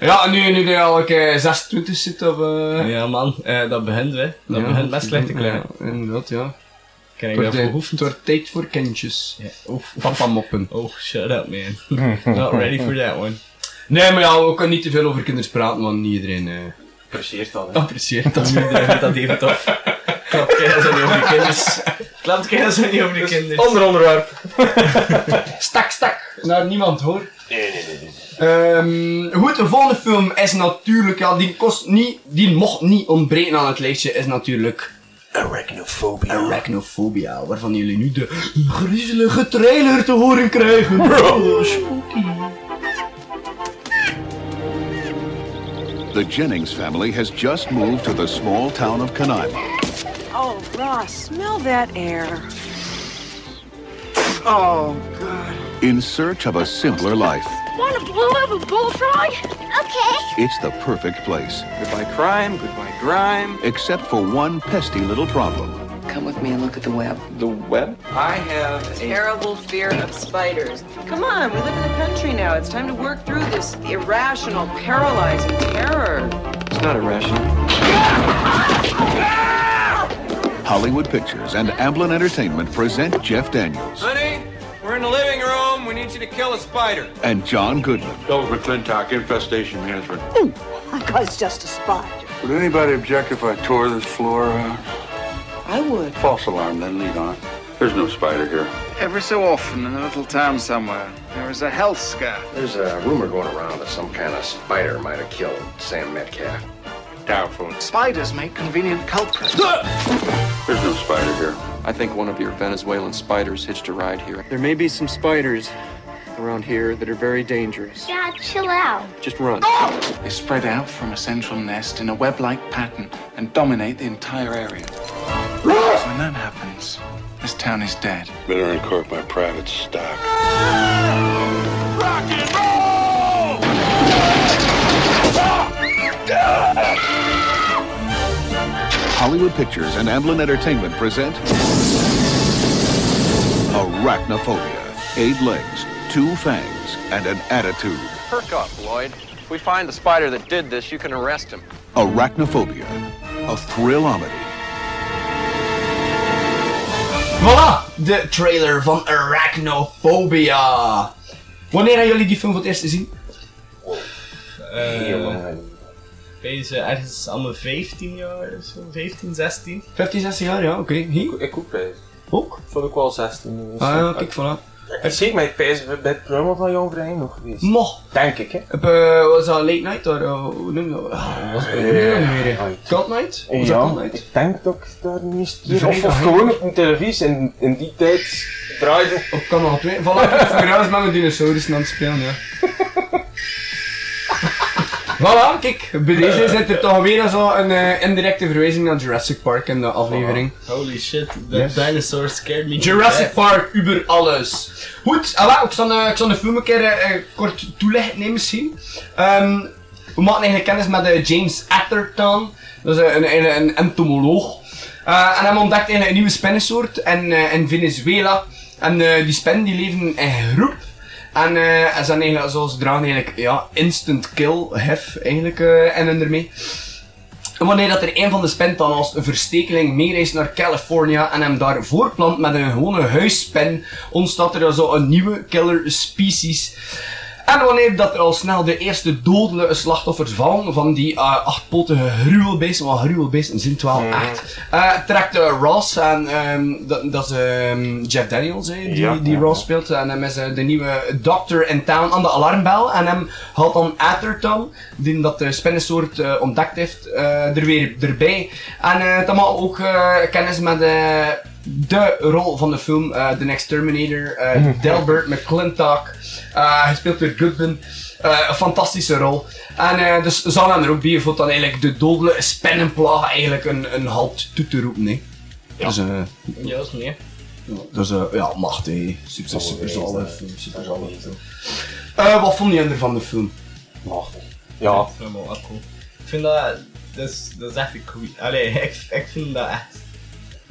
Speaker 2: Ja, nu, nu die al eh, 26 zit of... eh,
Speaker 3: Ja, man, eh, dat begint, hè. Dat begint best slecht te krijgen.
Speaker 2: Ja, inderdaad, ja.
Speaker 3: Kan ik
Speaker 2: Het
Speaker 3: daarvoor
Speaker 2: wordt, eh,
Speaker 3: hoeven?
Speaker 2: het wordt tijd voor kindjes.
Speaker 3: Ja, oef.
Speaker 2: Papa moppen.
Speaker 3: Oh, shut up, man. Not ready for that one.
Speaker 2: Nee, maar ja, we kunnen niet te veel over kinderen praten, want niet iedereen... eh,
Speaker 4: Apprecieert dat, hè.
Speaker 3: Apprecieert dat iedereen vindt dat even tof. Klapt geen zo niet over de kinders. Klapt geen zo niet over de
Speaker 2: Oh,
Speaker 3: kinders.
Speaker 4: Ander onderwerp.
Speaker 2: Stak, stak! Naar niemand, hoor.
Speaker 4: Nee, nee, nee. nee.
Speaker 2: Ehm, goed, de volgende film is natuurlijk, ja, die kost niet, die mocht niet ontbreken aan het lijstje, is natuurlijk
Speaker 4: Arachnophobia.
Speaker 3: Arachnophobia, waarvan jullie nu de griezelige trailer te horen krijgen. Oh, spooky.
Speaker 5: The Jennings family has just moved to the small town of Canaima.
Speaker 8: Oh, Ross, smell that air. Oh,
Speaker 5: in search of a simpler life.
Speaker 1: Want to blow up a bullfrog? Okay.
Speaker 5: It's the perfect place,
Speaker 9: Goodbye crime, goodbye grime.
Speaker 5: except for one pesky little problem.
Speaker 8: come with me and look at the web.
Speaker 9: The web? I have a
Speaker 8: Terrible fear of spiders. Come on, we live in the country now. It's time to work through this irrational, paralyzing terror.
Speaker 9: It's not irrational.
Speaker 5: Hollywood Pictures and Amblin Entertainment present Jeff Daniels
Speaker 9: Honey, we're in the living room. We need you to kill a spider.
Speaker 5: and John Goodman.
Speaker 10: Bill McClintock, infestation management.
Speaker 8: That guy's just a spider.
Speaker 10: Would anybody object if I tore this floor out?
Speaker 8: I would.
Speaker 10: False alarm, then lead on. There's no spider here.
Speaker 9: Every so often in a little town somewhere, there is a health scare.
Speaker 6: There's a rumor going around that some kind of spider might have killed Sam Metcalf.
Speaker 10: Doubtful.
Speaker 9: Spiders make convenient culprits.
Speaker 10: There's no spider here.
Speaker 9: I think one of your Venezuelan spiders hitched a ride here. There may be some spiders around here that are very dangerous.
Speaker 1: Dad, chill out.
Speaker 9: Just run. They spread out from a central nest in a web like pattern and dominate the entire area. when that happens, this town is dead.
Speaker 10: Better uncork my private stock.
Speaker 5: Hollywood Pictures and Amblin Entertainment present Arachnophobia. Eight legs, two fangs, and an attitude.
Speaker 9: Perk up, Lloyd. If we find the spider that did this, you can arrest him.
Speaker 5: Arachnophobia. A thrillometer.
Speaker 2: Voilà, de trailer van Arachnophobia. Wanneer hebben jullie die film voor het eerst gezien?
Speaker 4: Heel lang.
Speaker 3: Deze ergens aan mijn 15 jaar, of zo, 15, 16.
Speaker 2: 15, 16 jaar, ja, oké. Hier?
Speaker 4: Ik ook bij.
Speaker 2: Ook?
Speaker 4: Vond ik wel 16. Dus
Speaker 2: Ah, ja, kijk, voilà.
Speaker 4: Het zie ik mij PS bij het promo van Jan Vreemd nog geweest.
Speaker 2: Mo,
Speaker 4: Denk ik, hè?
Speaker 2: op, eh, was dat Late Night, of eh, hoe noem je dat? Ah, wat noem
Speaker 4: Eh,
Speaker 2: je dat nu weer? Cat Night? Was dat Cat
Speaker 4: Ja,
Speaker 2: Night?
Speaker 4: ik denk dat ik daar niet eens keer... Of,
Speaker 2: vrijdag,
Speaker 4: of
Speaker 2: hè?
Speaker 4: gewoon op een televisie in, in die tijd draaide.
Speaker 2: Op kanaal 2. Voilà, ik heb verhuisd met mijn dinosaurussen aan het spelen, ja. voilà, kijk, bij deze zit er toch weer zo een eh, indirecte verwijzing naar Jurassic Park in de aflevering.
Speaker 3: Holy shit, the
Speaker 2: Yes.
Speaker 3: dinosaur scared me. to
Speaker 2: Jurassic
Speaker 3: death.
Speaker 2: Park, uber alles. Eh. Goed, ah, wel, ik, zal, eh, ik zal de film een keer eh, eh, kort toelichten nee, misschien. Ehm, we maken eigenlijk kennis met eh, James Atherton, dat is eh, een, een, een entomoloog. Eh, en hij ontdekt eigenlijk een nieuwe spinnensoort in, eh, in Venezuela. En eh, die spinnen die leven in groep. En eh, en ze, zijn eigenlijk, zoals ze dragen eigenlijk ja, instant kill hef eigenlijk eh, en hun ermee. En Wanneer dat er een van de spin dan als een verstekeling meereist naar California en hem daar voorplant met een gewone huisspin, ontstaat er dan zo een nieuwe killer species. En wanneer dat er al snel de eerste dodelijke slachtoffers vallen van die eh, achtpotige gruwelbeesten, want gruwelbeesten zijn het wel echt, eh, trekt eh, Ross, en, ehm, dat, dat is ehm, Jeff Daniels eh, die,
Speaker 4: Ja,
Speaker 2: die
Speaker 4: ja,
Speaker 2: Ross speelt, en hem is eh, de nieuwe doctor in town aan de alarmbel, en hem haalt dan Atherton, die dat de spinnensoort eh, ontdekt heeft, eh, er weer erbij. En eh dan maakt ook eh, kennis met eh, de rol van de film, eh, The Next Terminator, eh, Delbert McClintock, eh gespeeld door Goodman. Eh, een fantastische rol. En eh, dus zal hem er ook bij vond dan eigenlijk de dodelijke spinnenplaag eigenlijk een, een halt toe te roepen. Hè. Dus, eh,
Speaker 3: Ja, dat is meer.
Speaker 2: dus eh, ja, macht hé. Super, super zalig. eh, Super zalig. Eh, wat vond je ervan de film?
Speaker 4: Ja,
Speaker 3: Ik vind hem wel echt cool. Ik vind dat, dat is, dat is echt een creepy. Allee, ik, ik vind dat echt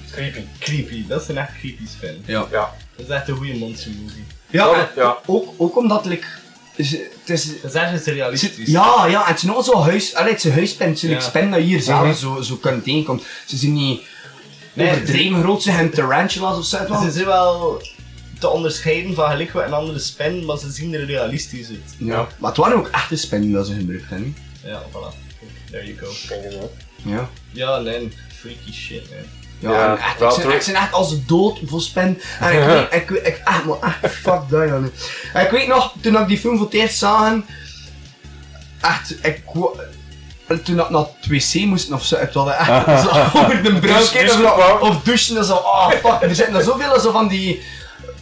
Speaker 4: creepy.
Speaker 3: creepy. Dat is een echt creepy spin.
Speaker 2: Ja.
Speaker 4: Ja.
Speaker 3: Dat is echt een goede monster movie.
Speaker 2: Ja,
Speaker 4: Ja,
Speaker 2: en
Speaker 4: ja.
Speaker 2: Ook, ook omdat like, is- het is.
Speaker 3: Dat is ergens realistisch.
Speaker 2: Ja, ja, en het is nog zo'n huis, allee, het is een huispin, het is een
Speaker 3: Ja.
Speaker 2: spin dat je hier zelf zo, zo kunt tegenkomen. Ze zijn niet
Speaker 3: Nee,
Speaker 2: overdreven groot, ze zijn tarantulas of zo. het wel.
Speaker 3: Ze zijn wel te onderscheiden van gelijk wat een andere spin, maar ze zien er realistisch uit.
Speaker 2: Ja. Maar het waren ook echte spinnen dat ze gebruikt hebben. hè.
Speaker 3: Ja, voilà. There you go.
Speaker 2: Ja.
Speaker 3: Ja, nee, freaky shit, man.
Speaker 2: Ja,
Speaker 4: Ja,
Speaker 2: en echt, ik,
Speaker 4: wel
Speaker 2: zijn,
Speaker 4: terug.
Speaker 2: ik zijn echt als dood voor spin. En ik weet, ik weet, ik, echt, maar echt, fuck dat, jongen. En ik weet nog, toen ik die film voor het eerst zag, echt, ik, wa- toen dat naar het wc moesten of zo, het was echt zo over de bruis
Speaker 3: Dus-
Speaker 2: kijken
Speaker 3: dus
Speaker 2: of,
Speaker 3: gewoon-
Speaker 2: of douchen en zo. Ah, fuck, er zijn er zoveel zo van die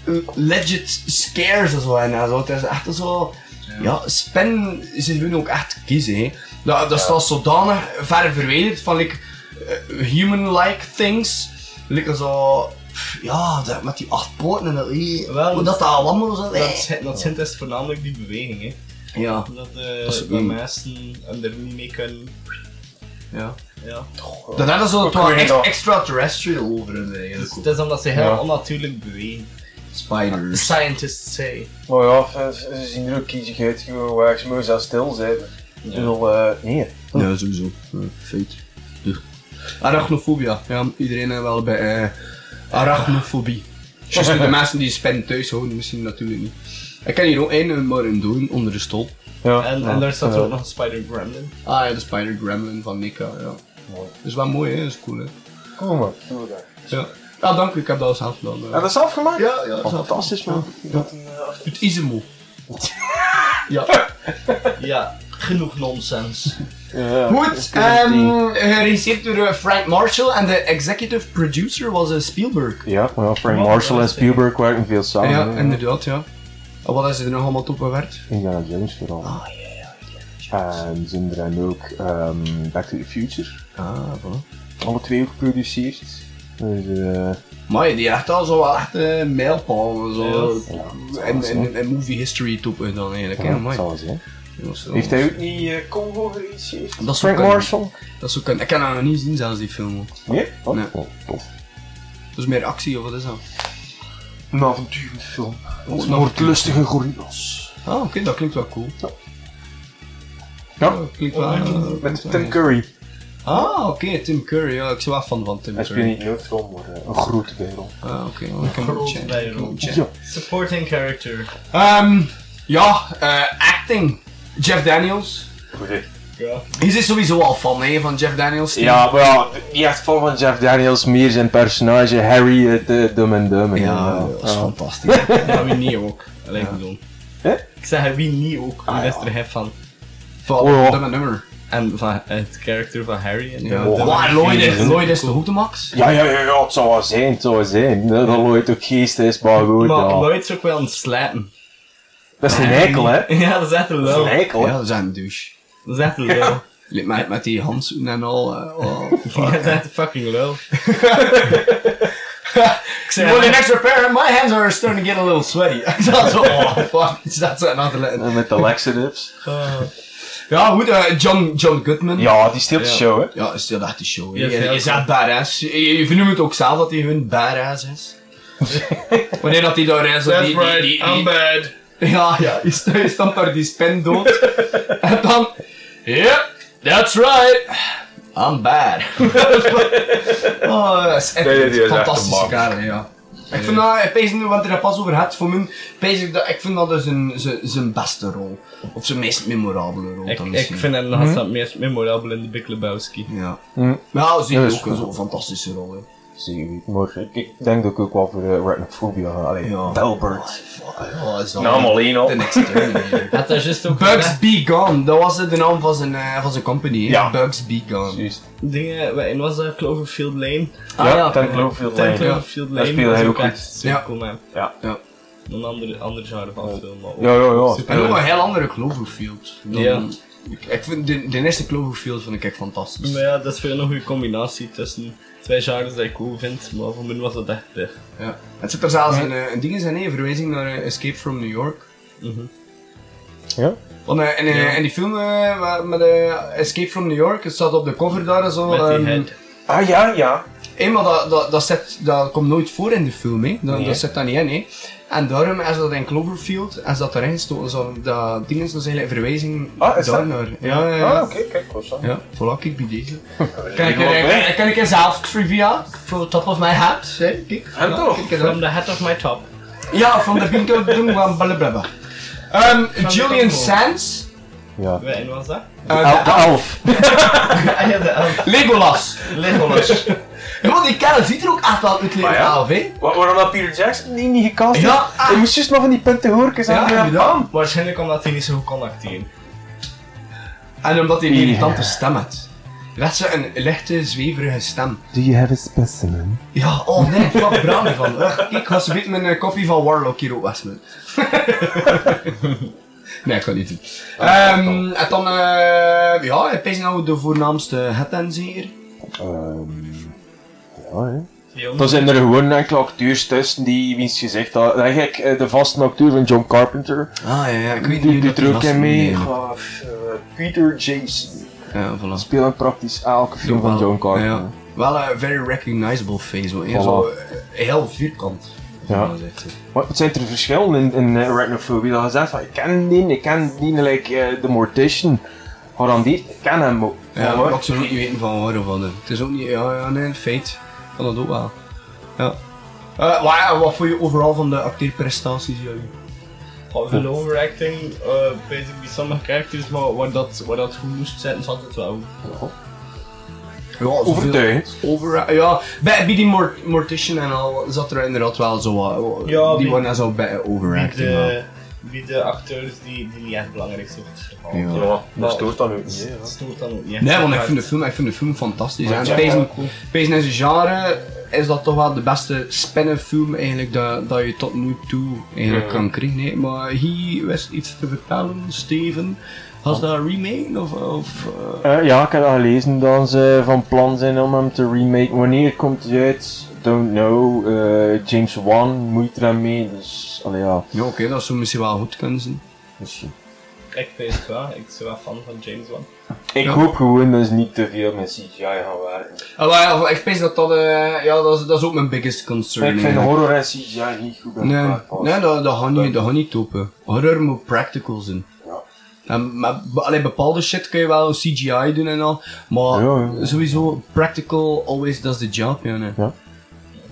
Speaker 2: eh, legit scares en zo en zo. Het is echt zo... Ja, Spen, ze hun ook echt kiezen, hè. Dat, dat staat zodanig ver verwijderd van like, eh, human-like things. Like zo... pff, Ja, dat, met die acht poten en dat... eh, hoe dat daar allemaal zo... eh.
Speaker 3: Dat, zijn- dat zijn dus voornamelijk die beweging, hè. eh,
Speaker 2: Ja.
Speaker 3: Dat,
Speaker 2: Dat is-
Speaker 3: de
Speaker 2: mm.
Speaker 3: mensen er niet mee kunnen...
Speaker 2: Ja.
Speaker 3: Ja.
Speaker 2: Dat hadden ze
Speaker 3: Ik
Speaker 2: het wel
Speaker 3: weet
Speaker 2: ex-
Speaker 3: niet of-
Speaker 2: extraterrestrial over hun eigenlijk.
Speaker 3: Dus Het is omdat ze heel
Speaker 2: Ja. Dus-
Speaker 3: onnatuurlijk bewegen.
Speaker 2: Spiders.
Speaker 3: Scientists say.
Speaker 4: Maar Oh ja, ze ze zien er ook kiezig uit, gewoon, waar ze mogen zelfs stil zijn. Ik bedoel, eh, nee.
Speaker 2: Ja, sowieso. Ja, Dus- feit. Ja. Arachnofobia. Ja, iedereen heeft wel bij eh, arachnofobie. Just de mensen die spend thuis houden, misschien natuurlijk niet. Ik ken hier ook één, eh, maar een doen onder de stol.
Speaker 4: Ja.
Speaker 3: En, en daar staat ook nog een Spider Gremlin.
Speaker 2: Ah ja, de Spider Gremlin van Nika. Ja.
Speaker 4: Mooi.
Speaker 2: Dat is wel mooi, hè? Dat is cool, hè?
Speaker 4: Kom maar. Doe maar daar.
Speaker 2: Ja. Ah, dank u, ik heb dat al zelf gedaan. eh.
Speaker 4: En dat is afgemaakt?
Speaker 2: Ja, ja, dat is
Speaker 4: fantastisch man.
Speaker 2: Het Izemo. Ja.
Speaker 3: Ja, genoeg nonsens.
Speaker 4: eh,
Speaker 2: Goed, ehm, geregisseerd door eh, Frank Marshall en de executive producer was eh, Spielberg.
Speaker 4: Ja, maar ja, Frank Marshall en Spielberg werken veel samen.
Speaker 2: ja,
Speaker 4: hè.
Speaker 2: inderdaad, ja. En wat is er nog allemaal op gewerkt?
Speaker 4: Indiana Jones vooral. Ah, ja, En zijn er dan ook ehm, Back to the Future.
Speaker 2: Ah, voilà.
Speaker 4: Alle twee ook geproduceerd. Dus, eh,
Speaker 2: Maar die echt al zo wel echt eh mijlpalen. Zo.
Speaker 4: Ja, dat
Speaker 2: en,
Speaker 4: is
Speaker 2: en, en movie history toppen dan eigenlijk.
Speaker 4: ja,
Speaker 2: Ja,
Speaker 4: dat
Speaker 2: mooi.
Speaker 4: zal wel zijn. Heeft
Speaker 2: Heeft
Speaker 4: hij ook niet eh, Congo geregisseerd?
Speaker 2: Dat is
Speaker 4: Frank
Speaker 2: ook een-
Speaker 4: Marshall?
Speaker 2: Dat zou kunnen. Ik kan dat nog niet zien, zelfs die film. ook.
Speaker 4: Nee? Oh,
Speaker 2: Nee.
Speaker 4: oh, tof.
Speaker 2: Dat is meer actie of wat is dat?
Speaker 4: Een avonturenfilm.
Speaker 2: een
Speaker 4: Met moordlustige gorillas.
Speaker 2: Ah, oké, dat klinkt wel cool.
Speaker 4: Ja,
Speaker 2: Dat klinkt wel. eh,
Speaker 4: met Tim Curry.
Speaker 2: Ah, oké, Tim Curry. Ja, ik ben wel fan van Tim
Speaker 4: Hij
Speaker 2: Curry.
Speaker 4: speelt niet in Neutron, maar eh, een grote kerel.
Speaker 2: Ah, oké, wel, ik kan hem
Speaker 3: Groot
Speaker 2: checken,
Speaker 3: bij
Speaker 2: ik kan hem
Speaker 3: Rob.
Speaker 2: checken.
Speaker 4: Ja.
Speaker 3: Supporting character.
Speaker 2: Ehm, ja, eh, acting. Jeff Daniels.
Speaker 3: Ja.
Speaker 2: Je zit sowieso al fan hè, van Jeff Daniels.
Speaker 4: Ja, maar ja, niet echt fan van Jeff Daniels, meer zijn personage Harry uit eh, Dumb and Dumber.
Speaker 2: ja, dat is fantastisch.
Speaker 3: Ja, wie niet ook. Alleen bedoel.
Speaker 4: Hè?
Speaker 3: Ik zeg wie niet ook. Wie is er hef van?
Speaker 2: Van
Speaker 4: Oh, ja.
Speaker 2: dat mijn nummer.
Speaker 3: En van het karakter van Harry. En
Speaker 2: Ja,
Speaker 3: de-
Speaker 2: Waar, Lloyd, is, Lloyd is de hoedemax.
Speaker 4: Ja, ja, ja, ja, het zou wel zijn, het zou wel zijn. Eh, Dat ja. Lloyd ook geest is, maar goed,
Speaker 3: Maar
Speaker 4: ja.
Speaker 3: Lloyd is ook wel een slaten.
Speaker 4: Dat is een eikel, hè?
Speaker 3: Ja, dat is echt een
Speaker 4: Dat is
Speaker 3: lul.
Speaker 4: een eikel, hè?
Speaker 2: Oh, Ja, dat is een douche.
Speaker 3: Dat is echt een lul.
Speaker 2: Met- Met, met die handzoen en al. eh, oh,
Speaker 3: Ja,
Speaker 2: fuck.
Speaker 3: dat is echt een fucking lul. Ik
Speaker 2: You
Speaker 3: zeg,
Speaker 2: want an extra pair? My hands are starting to get a little sweaty. dat zo, oh, fuck. Is Dat zo, not
Speaker 4: En Met de laxatives.
Speaker 2: Ja, goed, eh, John, John Goodman.
Speaker 4: Ja, die steelt de show, hè?
Speaker 2: Ja, is dat echt de show.
Speaker 3: Ja,
Speaker 2: Je, je,
Speaker 3: ja,
Speaker 2: je zegt badass. Je, je vernoemt het ook zelf dat hij hun badass is. Wanneer dat hij daar is. dat die, die, die, die-
Speaker 3: bad.
Speaker 2: Ja, ja, je st- je stampt daar die pen dood. en dan... Yep, that's right. I'm bad. oh, dat is echt
Speaker 4: Nee, nee, die is
Speaker 2: een
Speaker 4: echt
Speaker 2: fantastische
Speaker 4: een man.
Speaker 2: karel, ja. Ik vind dat, ik pees nu, want er pas over had, voor mij, pees ik dat, ik vind dat dus een, zijn, zijn beste rol. Of zijn meest memorabele rol
Speaker 3: Ik,
Speaker 2: dan
Speaker 3: ik
Speaker 2: misschien.
Speaker 3: vind hem nog altijd het meest memorabel in de Big Lebowski.
Speaker 2: Ja.
Speaker 4: Hm.
Speaker 2: Nou, zie
Speaker 4: Ja,
Speaker 2: je
Speaker 4: dat is
Speaker 2: ook een
Speaker 4: goed.
Speaker 2: zo'n fantastische rol, hè.
Speaker 4: Zeker niet, maar ik- ik denk dat ik ook wel voor de Arachnophobia ga. Allee,
Speaker 2: Ja.
Speaker 4: Delbert.
Speaker 2: Oh, dat is dan-
Speaker 4: alleen al.
Speaker 2: The next Terminator.
Speaker 3: Had daar juist ook
Speaker 2: Bugs Be Gone, dat was de naam van zijn, eh, van zijn company, hè.
Speaker 4: Ja.
Speaker 2: Bugs Be Gone.
Speaker 4: Juist.
Speaker 3: dingen, en was dat Cloverfield Lane?
Speaker 2: Ah,
Speaker 4: Ja, Ten Cloverfield
Speaker 3: Ten
Speaker 4: Lane.
Speaker 3: Cloverfield Lane
Speaker 4: Dat speelde
Speaker 3: was
Speaker 4: hij
Speaker 3: ook
Speaker 4: ook goed.
Speaker 3: echt super
Speaker 2: Ja.
Speaker 3: cool, man.
Speaker 4: Ja.
Speaker 2: Ja.
Speaker 3: Een andere, andere genre van film, maar ook
Speaker 4: Ja, ja, ja.
Speaker 3: super
Speaker 2: En ook
Speaker 3: leuk.
Speaker 2: een heel andere Cloverfield. Dan-
Speaker 3: Ja.
Speaker 2: Ik, ik vind de, de eerste Cloverfield vind ik echt fantastisch.
Speaker 3: Maar ja, dat is veel een goede combinatie tussen twee genres die ik cool vind, maar voor mij was dat echt eh,
Speaker 2: Ja. Het zit er zelfs een, eh, een ding in zijn, hè, een verwijzing naar eh, Escape from New York.
Speaker 3: mhm.
Speaker 4: Ja?
Speaker 2: Want, eh, en, eh, en die film eh, wa- met eh, Escape from New York, het staat op de cover daar zo.
Speaker 3: Met die
Speaker 2: ehm,
Speaker 3: head.
Speaker 4: Ah ja, ja.
Speaker 2: hé, maar dat, dat, dat, zit- dat komt nooit voor in de film, hè. Dat,
Speaker 4: Nee.
Speaker 2: dat zit daar niet in. Hè. En daarom is dat in Cloverfield, is dat erin gestoken. Zo, dat ding is dus eigenlijk een verwijzing
Speaker 4: Ah, is dat-
Speaker 2: daarnaar. Ja, ja, ja.
Speaker 4: Ah, oké, kijk, was dat.
Speaker 2: Ja, voilà, kijk bij deze. Kijk,
Speaker 4: die
Speaker 2: eh,
Speaker 4: wel bij.
Speaker 2: kijk, kijk eens zelf trivia voor top of my hat. hè, Kijk,
Speaker 4: En toch?
Speaker 2: kijk eens
Speaker 3: From
Speaker 2: aan.
Speaker 3: the head of my top.
Speaker 2: Ja, van de winkel doen van blablabla. Ehm Julian Sands,
Speaker 4: Ja.
Speaker 3: En was dat?
Speaker 2: eh,
Speaker 4: Elf.
Speaker 2: de-
Speaker 4: elf.
Speaker 3: Ah ja, de elf.
Speaker 2: Legolas.
Speaker 3: Legolas.
Speaker 2: Ja, want die kerel ziet er ook echt wel uit
Speaker 4: Maar
Speaker 2: Legolas
Speaker 4: ja.
Speaker 2: af, hè?
Speaker 4: Wa- Waarom dat Peter Jackson die niet gecast heeft?
Speaker 2: Ja, ah.
Speaker 4: Hij moest juist nog van die punten horen.
Speaker 2: Ja,
Speaker 4: Ja,
Speaker 2: inderdaad.
Speaker 3: Waarschijnlijk omdat hij niet zo goed kon acteren.
Speaker 2: En omdat hij een irritante stem had. Werd ze een lichte, zweverige stem.
Speaker 4: Do you have a specimen?
Speaker 2: Ja, oh nee, wat brand van. Kijk, ga ze weten mijn eh, kopie van Warlock hier op Westman. nee, ik kan niet doen. Ehm, en dan, eh ja, ik pees nou de voornaamste het en zeer.
Speaker 4: Ehm, ja, hè. Dan zijn er gewoon enkele acteurs tussen die, wiens gezicht dat... Eigenlijk eh, de vaste acteur van John Carpenter.
Speaker 2: Ah, ja, ja, ik weet
Speaker 4: Die
Speaker 2: niet.
Speaker 4: doet er ook in mee.
Speaker 2: Ja,
Speaker 4: Ah, f- eh, Peter Jason.
Speaker 2: Ja, voilà.
Speaker 4: Speelt in praktisch elke film van John Carpenter.
Speaker 2: Ja. Wel een very recognizable face, hoor. Heel Zo, eh, heel vierkant.
Speaker 4: Ja. Maar het zijn er verschillen in, in eh, arachnophobie. Dat je zegt van, ik ken die, ik ken die, like eh, de mortician. Garandeerd, ik ken hem ook.
Speaker 2: Ja,
Speaker 4: Maar-
Speaker 2: maar ik zou ook niet weten van waar of van. eh. Het is ook niet, ja, ja nee, feit. Kan dat ook wel. Ja. Eh, maar ja, wat vond je overal van de acteerprestaties, jullie?
Speaker 3: Veel overacting, eh basically sommige characters, maar waar dat, waar dat goed moest zitten, zat het wel.
Speaker 2: Ja, Overtuigend. Over, eh, ja, bij, bij die mor- Mortician en al zat er inderdaad wel zo wat. wat-
Speaker 3: Ja,
Speaker 2: die
Speaker 3: bij-
Speaker 2: waren daar zo bij
Speaker 3: Wie
Speaker 2: overacting.
Speaker 3: de,
Speaker 2: maar-
Speaker 3: wie de acteurs die, die niet echt belangrijk zijn voor het verhaal.
Speaker 2: Ja. Ja, dat
Speaker 3: Maar
Speaker 4: stoort dan ook niet,
Speaker 3: het
Speaker 4: ja.
Speaker 3: stoort dan ook niet.
Speaker 2: Nee, want ik
Speaker 3: Maar-
Speaker 2: vind de film, ik vind de film fantastisch.
Speaker 3: Maar
Speaker 2: En
Speaker 3: Jack
Speaker 2: Pezen
Speaker 3: ook goed.
Speaker 2: Pezen in zijn genre is dat toch wel de beste spinnenfilm eigenlijk dat, dat je tot nu toe eigenlijk
Speaker 3: Ja.
Speaker 2: kan krijgen. hè. Maar hier wist iets te vertellen, Steven. Was dat een remake of... of eh,
Speaker 4: Eh, ja, ik heb dat gelezen dat ze van plan zijn om hem te remake. Wanneer komt hij uit? Don't know. Eh, James Wan moet er aan mee, dus allee, ja.
Speaker 2: Ja, oké, dat zou misschien wel goed kunnen zijn.
Speaker 4: Misschien.
Speaker 3: Ik weet het wel, ik ben wel fan van James Wan.
Speaker 4: Ik
Speaker 2: Ja.
Speaker 4: hoop gewoon dat ze niet te veel met CGI gaan werken.
Speaker 2: Ah, maar ja, ik pees dat dat... eh, ja, dat is, dat is ook mijn biggest concern.
Speaker 4: ik vind
Speaker 2: eigenlijk.
Speaker 4: horror en CGI niet goed bij
Speaker 2: Nee,
Speaker 4: elkaar passen.
Speaker 2: nee dat, dat, gaat niet, dat gaat niet topen. Horror moet practical zijn. En, maar, be- allee, bepaalde shit kun je wel CGI doen en al, maar sowieso practical always does the job, ja. Nee.
Speaker 4: Ja.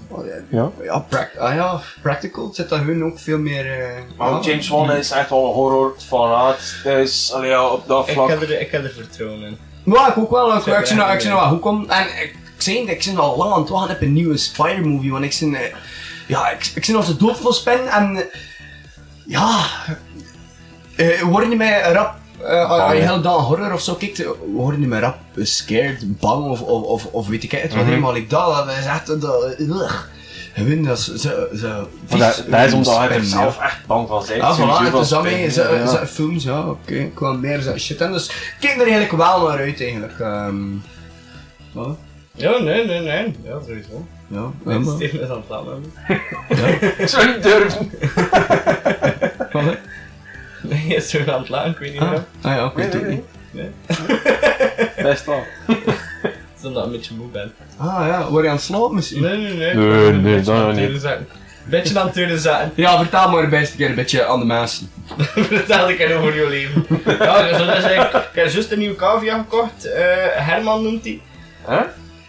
Speaker 2: Oh, ja,
Speaker 4: Ja.
Speaker 2: ja, prac- ah, ja, practical zit daar hun ook veel meer... eh,
Speaker 4: Maar
Speaker 2: ja.
Speaker 4: ook James Wan is echt wel een horror fanaat, dus allee, ja, op dat
Speaker 3: Ik
Speaker 4: vlak.
Speaker 3: heb, er, ik heb er vertrouwen in.
Speaker 2: Ja, ik ook wel. Ik, ik,
Speaker 3: Zeker,
Speaker 2: zie nou, ik zie nou
Speaker 3: ja.
Speaker 2: wel hoe komt. En ik, ik zei het, ik zit al lang aan het wachten op een nieuwe Spider-movie, want ik zit... eh, ja, ik, ik zit als de dood vol spin en... eh, Ja... eh, worden niet meer rap... eh als je
Speaker 4: Bang.
Speaker 2: heel dan horror of zo kijkt, eh, worden niet meer rap scared, bang of, of, of, of weet ik het wat
Speaker 4: Mhm.
Speaker 2: helemaal ik dat, dat is echt... Dat, eh, ugh. Hun, dat is... Ze, ze,
Speaker 4: Maar dat, dat is omdat hij er
Speaker 2: spin, ja.
Speaker 4: zelf echt bang van zijn.
Speaker 2: Ah, voilà,
Speaker 4: Sowieso
Speaker 2: het
Speaker 4: van
Speaker 2: is dat
Speaker 4: spin,
Speaker 2: mee.
Speaker 4: ja,
Speaker 2: Zijn
Speaker 4: ja.
Speaker 2: zijn films, ja, oké. Ik wil meer zijn shit in. Dus ik kijk er eigenlijk wel naar uit, eigenlijk. Ehm, wat?
Speaker 3: Ja, nee, nee, nee. Ja, sowieso.
Speaker 2: Ja, ja,
Speaker 3: Mijn
Speaker 2: maar-
Speaker 3: Steven is aan het lachen.
Speaker 4: Ik zou niet durven.
Speaker 2: Wat, hè?
Speaker 3: Nee, hij is weer aan het lachen, ik weet niet
Speaker 2: Ah,
Speaker 3: waarom.
Speaker 2: ah ja, ik weet het ook niet.
Speaker 3: Nee.
Speaker 4: Best wel.
Speaker 3: Het is omdat ik een beetje moe ben.
Speaker 2: Ah ja, word je aan het slapen misschien?
Speaker 3: Nee, nee, nee. Ik
Speaker 4: Nee,
Speaker 3: ben een
Speaker 4: nee,
Speaker 3: beetje
Speaker 4: dat
Speaker 3: aan het
Speaker 4: niet.
Speaker 3: teuren zakken. Beetje aan het teuren zaten.
Speaker 2: Ja, vertel maar best een keer een beetje aan de mensen.
Speaker 3: Vertel ik hen over jouw leven. Ja, dus dat is eigenlijk... Ik heb juist een nieuwe cavia gekocht. eh, Herman noemt die.
Speaker 4: Hè?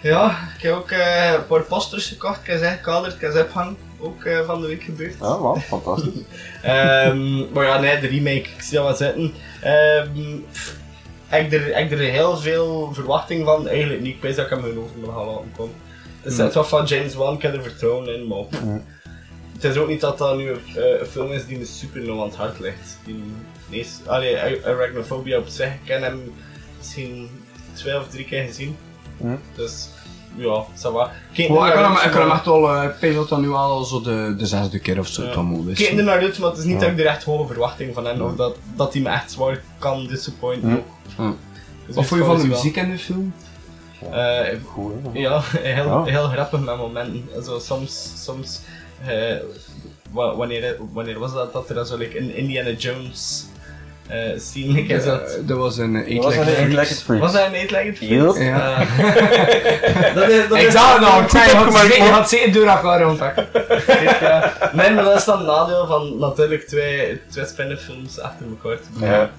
Speaker 3: Ja, ik heb ook eh, een paar posters gekocht. Ik heb ze ingekaderd, ik heb ze opgehangen. Ook eh, van de week gebeurd.
Speaker 4: Ja, man, fantastisch.
Speaker 3: Ehm, maar ja, nee, de remake, ik zie dat wat zitten. Ehm, pff, heb ik er, heb ik er heel veel verwachting van? Eigenlijk niet, ik weet dat ik hem gewoon over mijn gaan laten komen. Het is
Speaker 2: Hmm.
Speaker 3: net wat van James Wan, ik heb er vertrouwen in, maar pff,
Speaker 4: Hmm.
Speaker 3: het is ook niet dat dat nu eh, een film is die me super nauw aan het hart ligt. Die, nee, is- allee, Ar- Arachnophobia op zich, ik ken hem misschien twee of drie keer gezien.
Speaker 4: Hmm.
Speaker 3: Dus ja, ça va. Kijk
Speaker 2: Wel,
Speaker 3: er
Speaker 2: ik
Speaker 3: naar
Speaker 2: kan hem,
Speaker 3: uit,
Speaker 2: ik kan hem
Speaker 3: maar-
Speaker 2: echt wel... eh, Ik pees dat dat nu al zo de, de zesde keer of zo
Speaker 3: Ja.
Speaker 2: kan moeten
Speaker 3: Ik kijk er
Speaker 2: zijn.
Speaker 3: naar uit, maar het is niet
Speaker 4: Dus Ja.
Speaker 3: dat ik er echt hoge verwachting van heb. Of dat, dat hij me echt zwaar kan disappointen.
Speaker 4: Ja.
Speaker 3: ook.
Speaker 2: Ja.
Speaker 3: Dus
Speaker 2: Wat
Speaker 3: ik
Speaker 2: vond je van de
Speaker 3: wel-
Speaker 2: muziek in de film?
Speaker 3: Eh,
Speaker 4: Goed, hè?
Speaker 3: ja, heel,
Speaker 4: Ja.
Speaker 3: heel grappig met momenten. Zo, soms, soms eh, wa- wanneer, wanneer was dat? Dat er zo like, een Indiana Jones eh scene like, is. Dat,
Speaker 2: Eh, Dat was een eh, Eight
Speaker 4: was
Speaker 2: Legged
Speaker 4: een Eight
Speaker 2: Freaks.
Speaker 4: Legged Freak.
Speaker 3: was dat een Eetlegged
Speaker 4: Yep.
Speaker 2: Ja.
Speaker 3: dat is, dat
Speaker 2: Ik
Speaker 3: is
Speaker 2: zag het al, ik zei, je had
Speaker 4: opgemerkt,
Speaker 2: zeker- je
Speaker 4: hoor.
Speaker 2: had zeker door elkaar ontpakken.
Speaker 3: ja. Nee, maar dat is dan het nadeel van natuurlijk twee, twee spinnenfilms achter elkaar te brengen.
Speaker 4: Ja.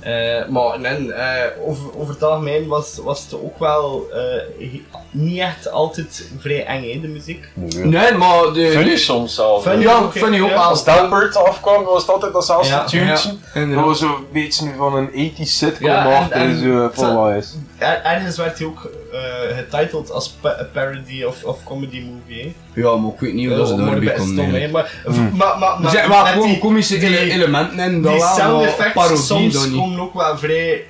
Speaker 3: Eh, maar nee, eh, over, over het algemeen was, was het ook wel eh, he- niet echt altijd vrij eng, hè, de muziek.
Speaker 2: Nee, maar... de-
Speaker 4: Funny
Speaker 2: de-
Speaker 4: soms zelfs.
Speaker 3: Funny.
Speaker 2: Ja, funny ook
Speaker 3: Ja.
Speaker 2: wel.
Speaker 4: Als Delbert afkwam, was dat altijd datzelfde
Speaker 3: Ja,
Speaker 4: tuintje.
Speaker 2: ja,
Speaker 4: dat
Speaker 2: inderdaad.
Speaker 4: was zo'n beetje van een 80 sitcom
Speaker 3: Ja, en-
Speaker 4: achter
Speaker 3: en-
Speaker 4: zo vol is.
Speaker 3: Er- ergens werd hij ook eh getiteld als pa- parody of, of comedy movie. hè.
Speaker 2: Ja, maar ik weet niet hoe dat ze
Speaker 3: Eh, maar
Speaker 2: daarbij
Speaker 3: best
Speaker 2: komen.
Speaker 3: stom,
Speaker 2: eigenlijk.
Speaker 3: hè, maar,
Speaker 4: Hmm.
Speaker 3: maar, maar,
Speaker 2: Er
Speaker 3: maar,
Speaker 2: zijn wel
Speaker 3: maar
Speaker 2: Dus gewoon
Speaker 3: die-
Speaker 2: komische ele-
Speaker 3: die-
Speaker 2: elementen in, dat
Speaker 3: Die
Speaker 2: wel,
Speaker 3: sound
Speaker 2: maar
Speaker 3: effects
Speaker 2: parodie
Speaker 3: soms
Speaker 2: dan niet.
Speaker 3: komen ook wel vrij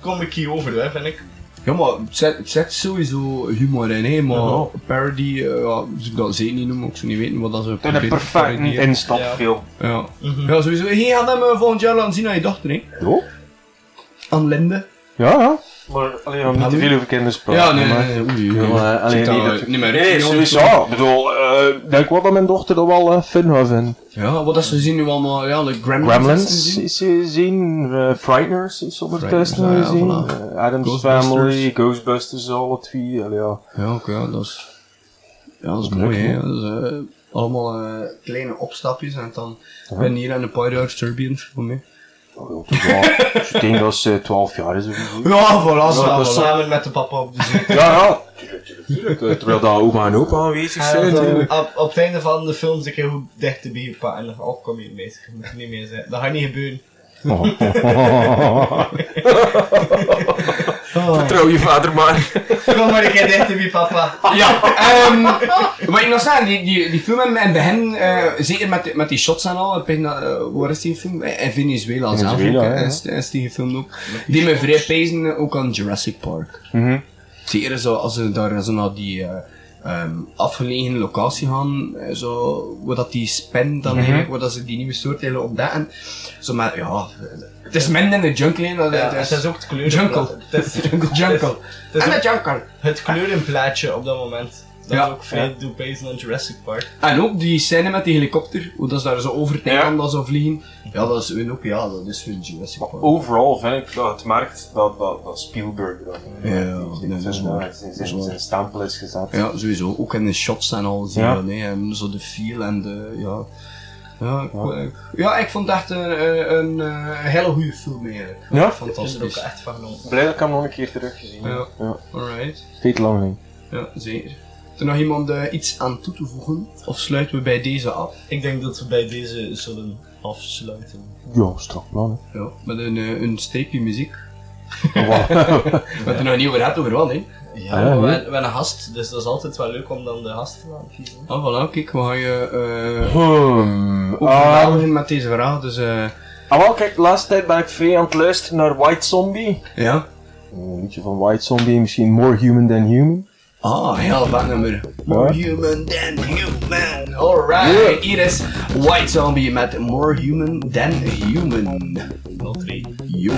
Speaker 3: kom ik hier over, hè, vind ik.
Speaker 2: Ja, maar het zet, het zet sowieso humor in, hè, maar
Speaker 3: Ja.
Speaker 2: parody, eh, ja, zou ik dat zeker niet noemen, ik zou niet weten wat dat zo
Speaker 4: Een perfecte instapfilm.
Speaker 2: Ja.
Speaker 3: Mhm.
Speaker 2: ja, sowieso. Hey, je gaat hem eh, volgend jaar laten zien aan je dochter, hè?
Speaker 4: Ja.
Speaker 2: Aan Linde.
Speaker 4: Ja, ja. Maar alleen om niet te veel over kinderen te praten.
Speaker 2: Ja, nee,
Speaker 4: maar-
Speaker 2: nee, nee, oei,
Speaker 4: Ja,
Speaker 2: oei.
Speaker 4: maar, eh, allee,
Speaker 2: Zit
Speaker 4: nee,
Speaker 2: daar,
Speaker 4: dat-
Speaker 2: eh, niet meer
Speaker 4: Nee,
Speaker 2: in,
Speaker 4: sowieso.
Speaker 2: jongens.
Speaker 4: Ik bedoel, eh, ik denk wel dat mijn dochter dat wel eh, fun gaat vinden.
Speaker 2: Ja, wat dat ze zien nu allemaal, ja, de Gremlins.
Speaker 4: Gremlins is zien, eh, Frighteners is op het
Speaker 2: Frighteners,
Speaker 4: testen
Speaker 2: ja,
Speaker 4: gezien,
Speaker 2: voilà.
Speaker 4: eh, Adam's
Speaker 2: Ghostbusters.
Speaker 4: Family, Ghostbusters, alle twee, allee, ja.
Speaker 2: Ja, oké, ja, dat is... Ja, dat is mooi,
Speaker 4: Leuk,
Speaker 2: hè.
Speaker 4: man.
Speaker 2: Dat is, eh, allemaal eh, kleine opstapjes en dan ben je hier aan de paar jaar Serbians voor mij.
Speaker 4: Oh, Ja, dus ik denk dat ze 12 jaar is of zo.
Speaker 2: Ja, voilà,
Speaker 4: Ja,
Speaker 2: ja, dus-
Speaker 4: dat
Speaker 2: voilà.
Speaker 4: is
Speaker 3: Samen met de papa op de zee.
Speaker 4: Ja, ja. Eh, Terwijl daar oma en opa aanwezig
Speaker 3: En
Speaker 4: zijn.
Speaker 3: dan
Speaker 4: natuurlijk.
Speaker 3: op, op het einde van de film zit ik hoe dicht te bij pa en dan oh, kom hier mee, je moet er niet meer zijn. Dat gaat niet gebeuren.
Speaker 4: Oh.
Speaker 2: Oh.
Speaker 4: Vertrouw je vader maar.
Speaker 3: Kom maar een keer dichter bij papa.
Speaker 2: Ja, ehm wat ik nog zei, die, die, die film in het begin, eh, zeker met, die- met die shots en al, ik denk dat, eh, waar is die film? Eh, In Venezuela zelf ook,
Speaker 4: Venezuela,
Speaker 2: eh,
Speaker 4: ja.
Speaker 2: is, is die gefilmd ook. Die me vrij pijzen eh, ook aan Jurassic Park.
Speaker 4: Mhm.
Speaker 2: Zeker zo, als ze daar zo naar die eh, ehm, afgelegen locatie gaan, eh, zo, waar dat die spin dan
Speaker 4: Mhm.
Speaker 2: eigenlijk, waar dat ze die nieuwe soort willen ontdekken. Zo maar, ja, het is minder in de jungle, hè, dat,
Speaker 3: Ja,
Speaker 2: het is,
Speaker 3: het is ook het kleuren.
Speaker 2: jungle.
Speaker 3: Het is,
Speaker 2: Jungle, jungle.
Speaker 3: het is
Speaker 2: en de
Speaker 3: ook
Speaker 2: jungle.
Speaker 3: het kleurenplaatje op dat moment. Dat
Speaker 2: Ja.
Speaker 3: is ook veel doet bezig aan Jurassic Park.
Speaker 2: En ook die scène met die helikopter, hoe dat ze daar zo over Thailand dat zo vliegen. Ja, dat is hun ook, ja, dat is hun Jurassic Park.
Speaker 4: Overal vind ik dat het merkt dat, dat, dat Spielberg dat
Speaker 2: Ja, nee, dat is waar.
Speaker 4: zijn,
Speaker 2: Dat is
Speaker 4: zijn,
Speaker 2: waar.
Speaker 4: zijn stempel is gezet.
Speaker 2: Ja, sowieso. Ook in de shots en al zie je
Speaker 4: Ja.
Speaker 2: dat, hè. En zo de feel en de, ja. Ja, ik, ik- ja, ik vond het echt een, eh, een, eh, hele goede film eigenlijk.
Speaker 4: Ja?
Speaker 3: Dat is er ook
Speaker 2: Fantastisch.
Speaker 3: echt van genomen.
Speaker 4: Blij dat ik hem nog een keer teruggezien heb.
Speaker 2: Ja.
Speaker 4: Ja.
Speaker 2: Alright.
Speaker 4: Veel te lang niet.
Speaker 2: Ja, zeker. Is er nog iemand eh, iets aan toe te voegen? Of sluiten we bij deze af?
Speaker 3: Ik denk dat we bij deze zullen afsluiten.
Speaker 4: Ja, strak plan.
Speaker 2: Ja, met een, eh, een streepje muziek.
Speaker 4: hè. Oh, Wauw.
Speaker 2: We hebben het er nog niet over gehad, over wat, hè?
Speaker 3: Ja,
Speaker 4: Ja,
Speaker 3: maar we,
Speaker 4: nee.
Speaker 3: we hebben een gast, dus dat is altijd wel leuk om dan de gast te laten kiezen.
Speaker 2: Ah, voilà, kijk, we gaan je... eh
Speaker 4: Hmm. ah,
Speaker 2: overweldigen met deze verhaal, dus... eh,
Speaker 4: ah, wel, kijk, de laatste tijd ben ik vrij aan het luisteren naar White Zombie.
Speaker 2: Ja.
Speaker 4: Een liedje van White Zombie, misschien More Human Than Human.
Speaker 2: Ah, heel vet nummer. More human than human. Alright,
Speaker 4: Yeah.
Speaker 2: hier is White Zombie met More human than human. Wel drie. Yo.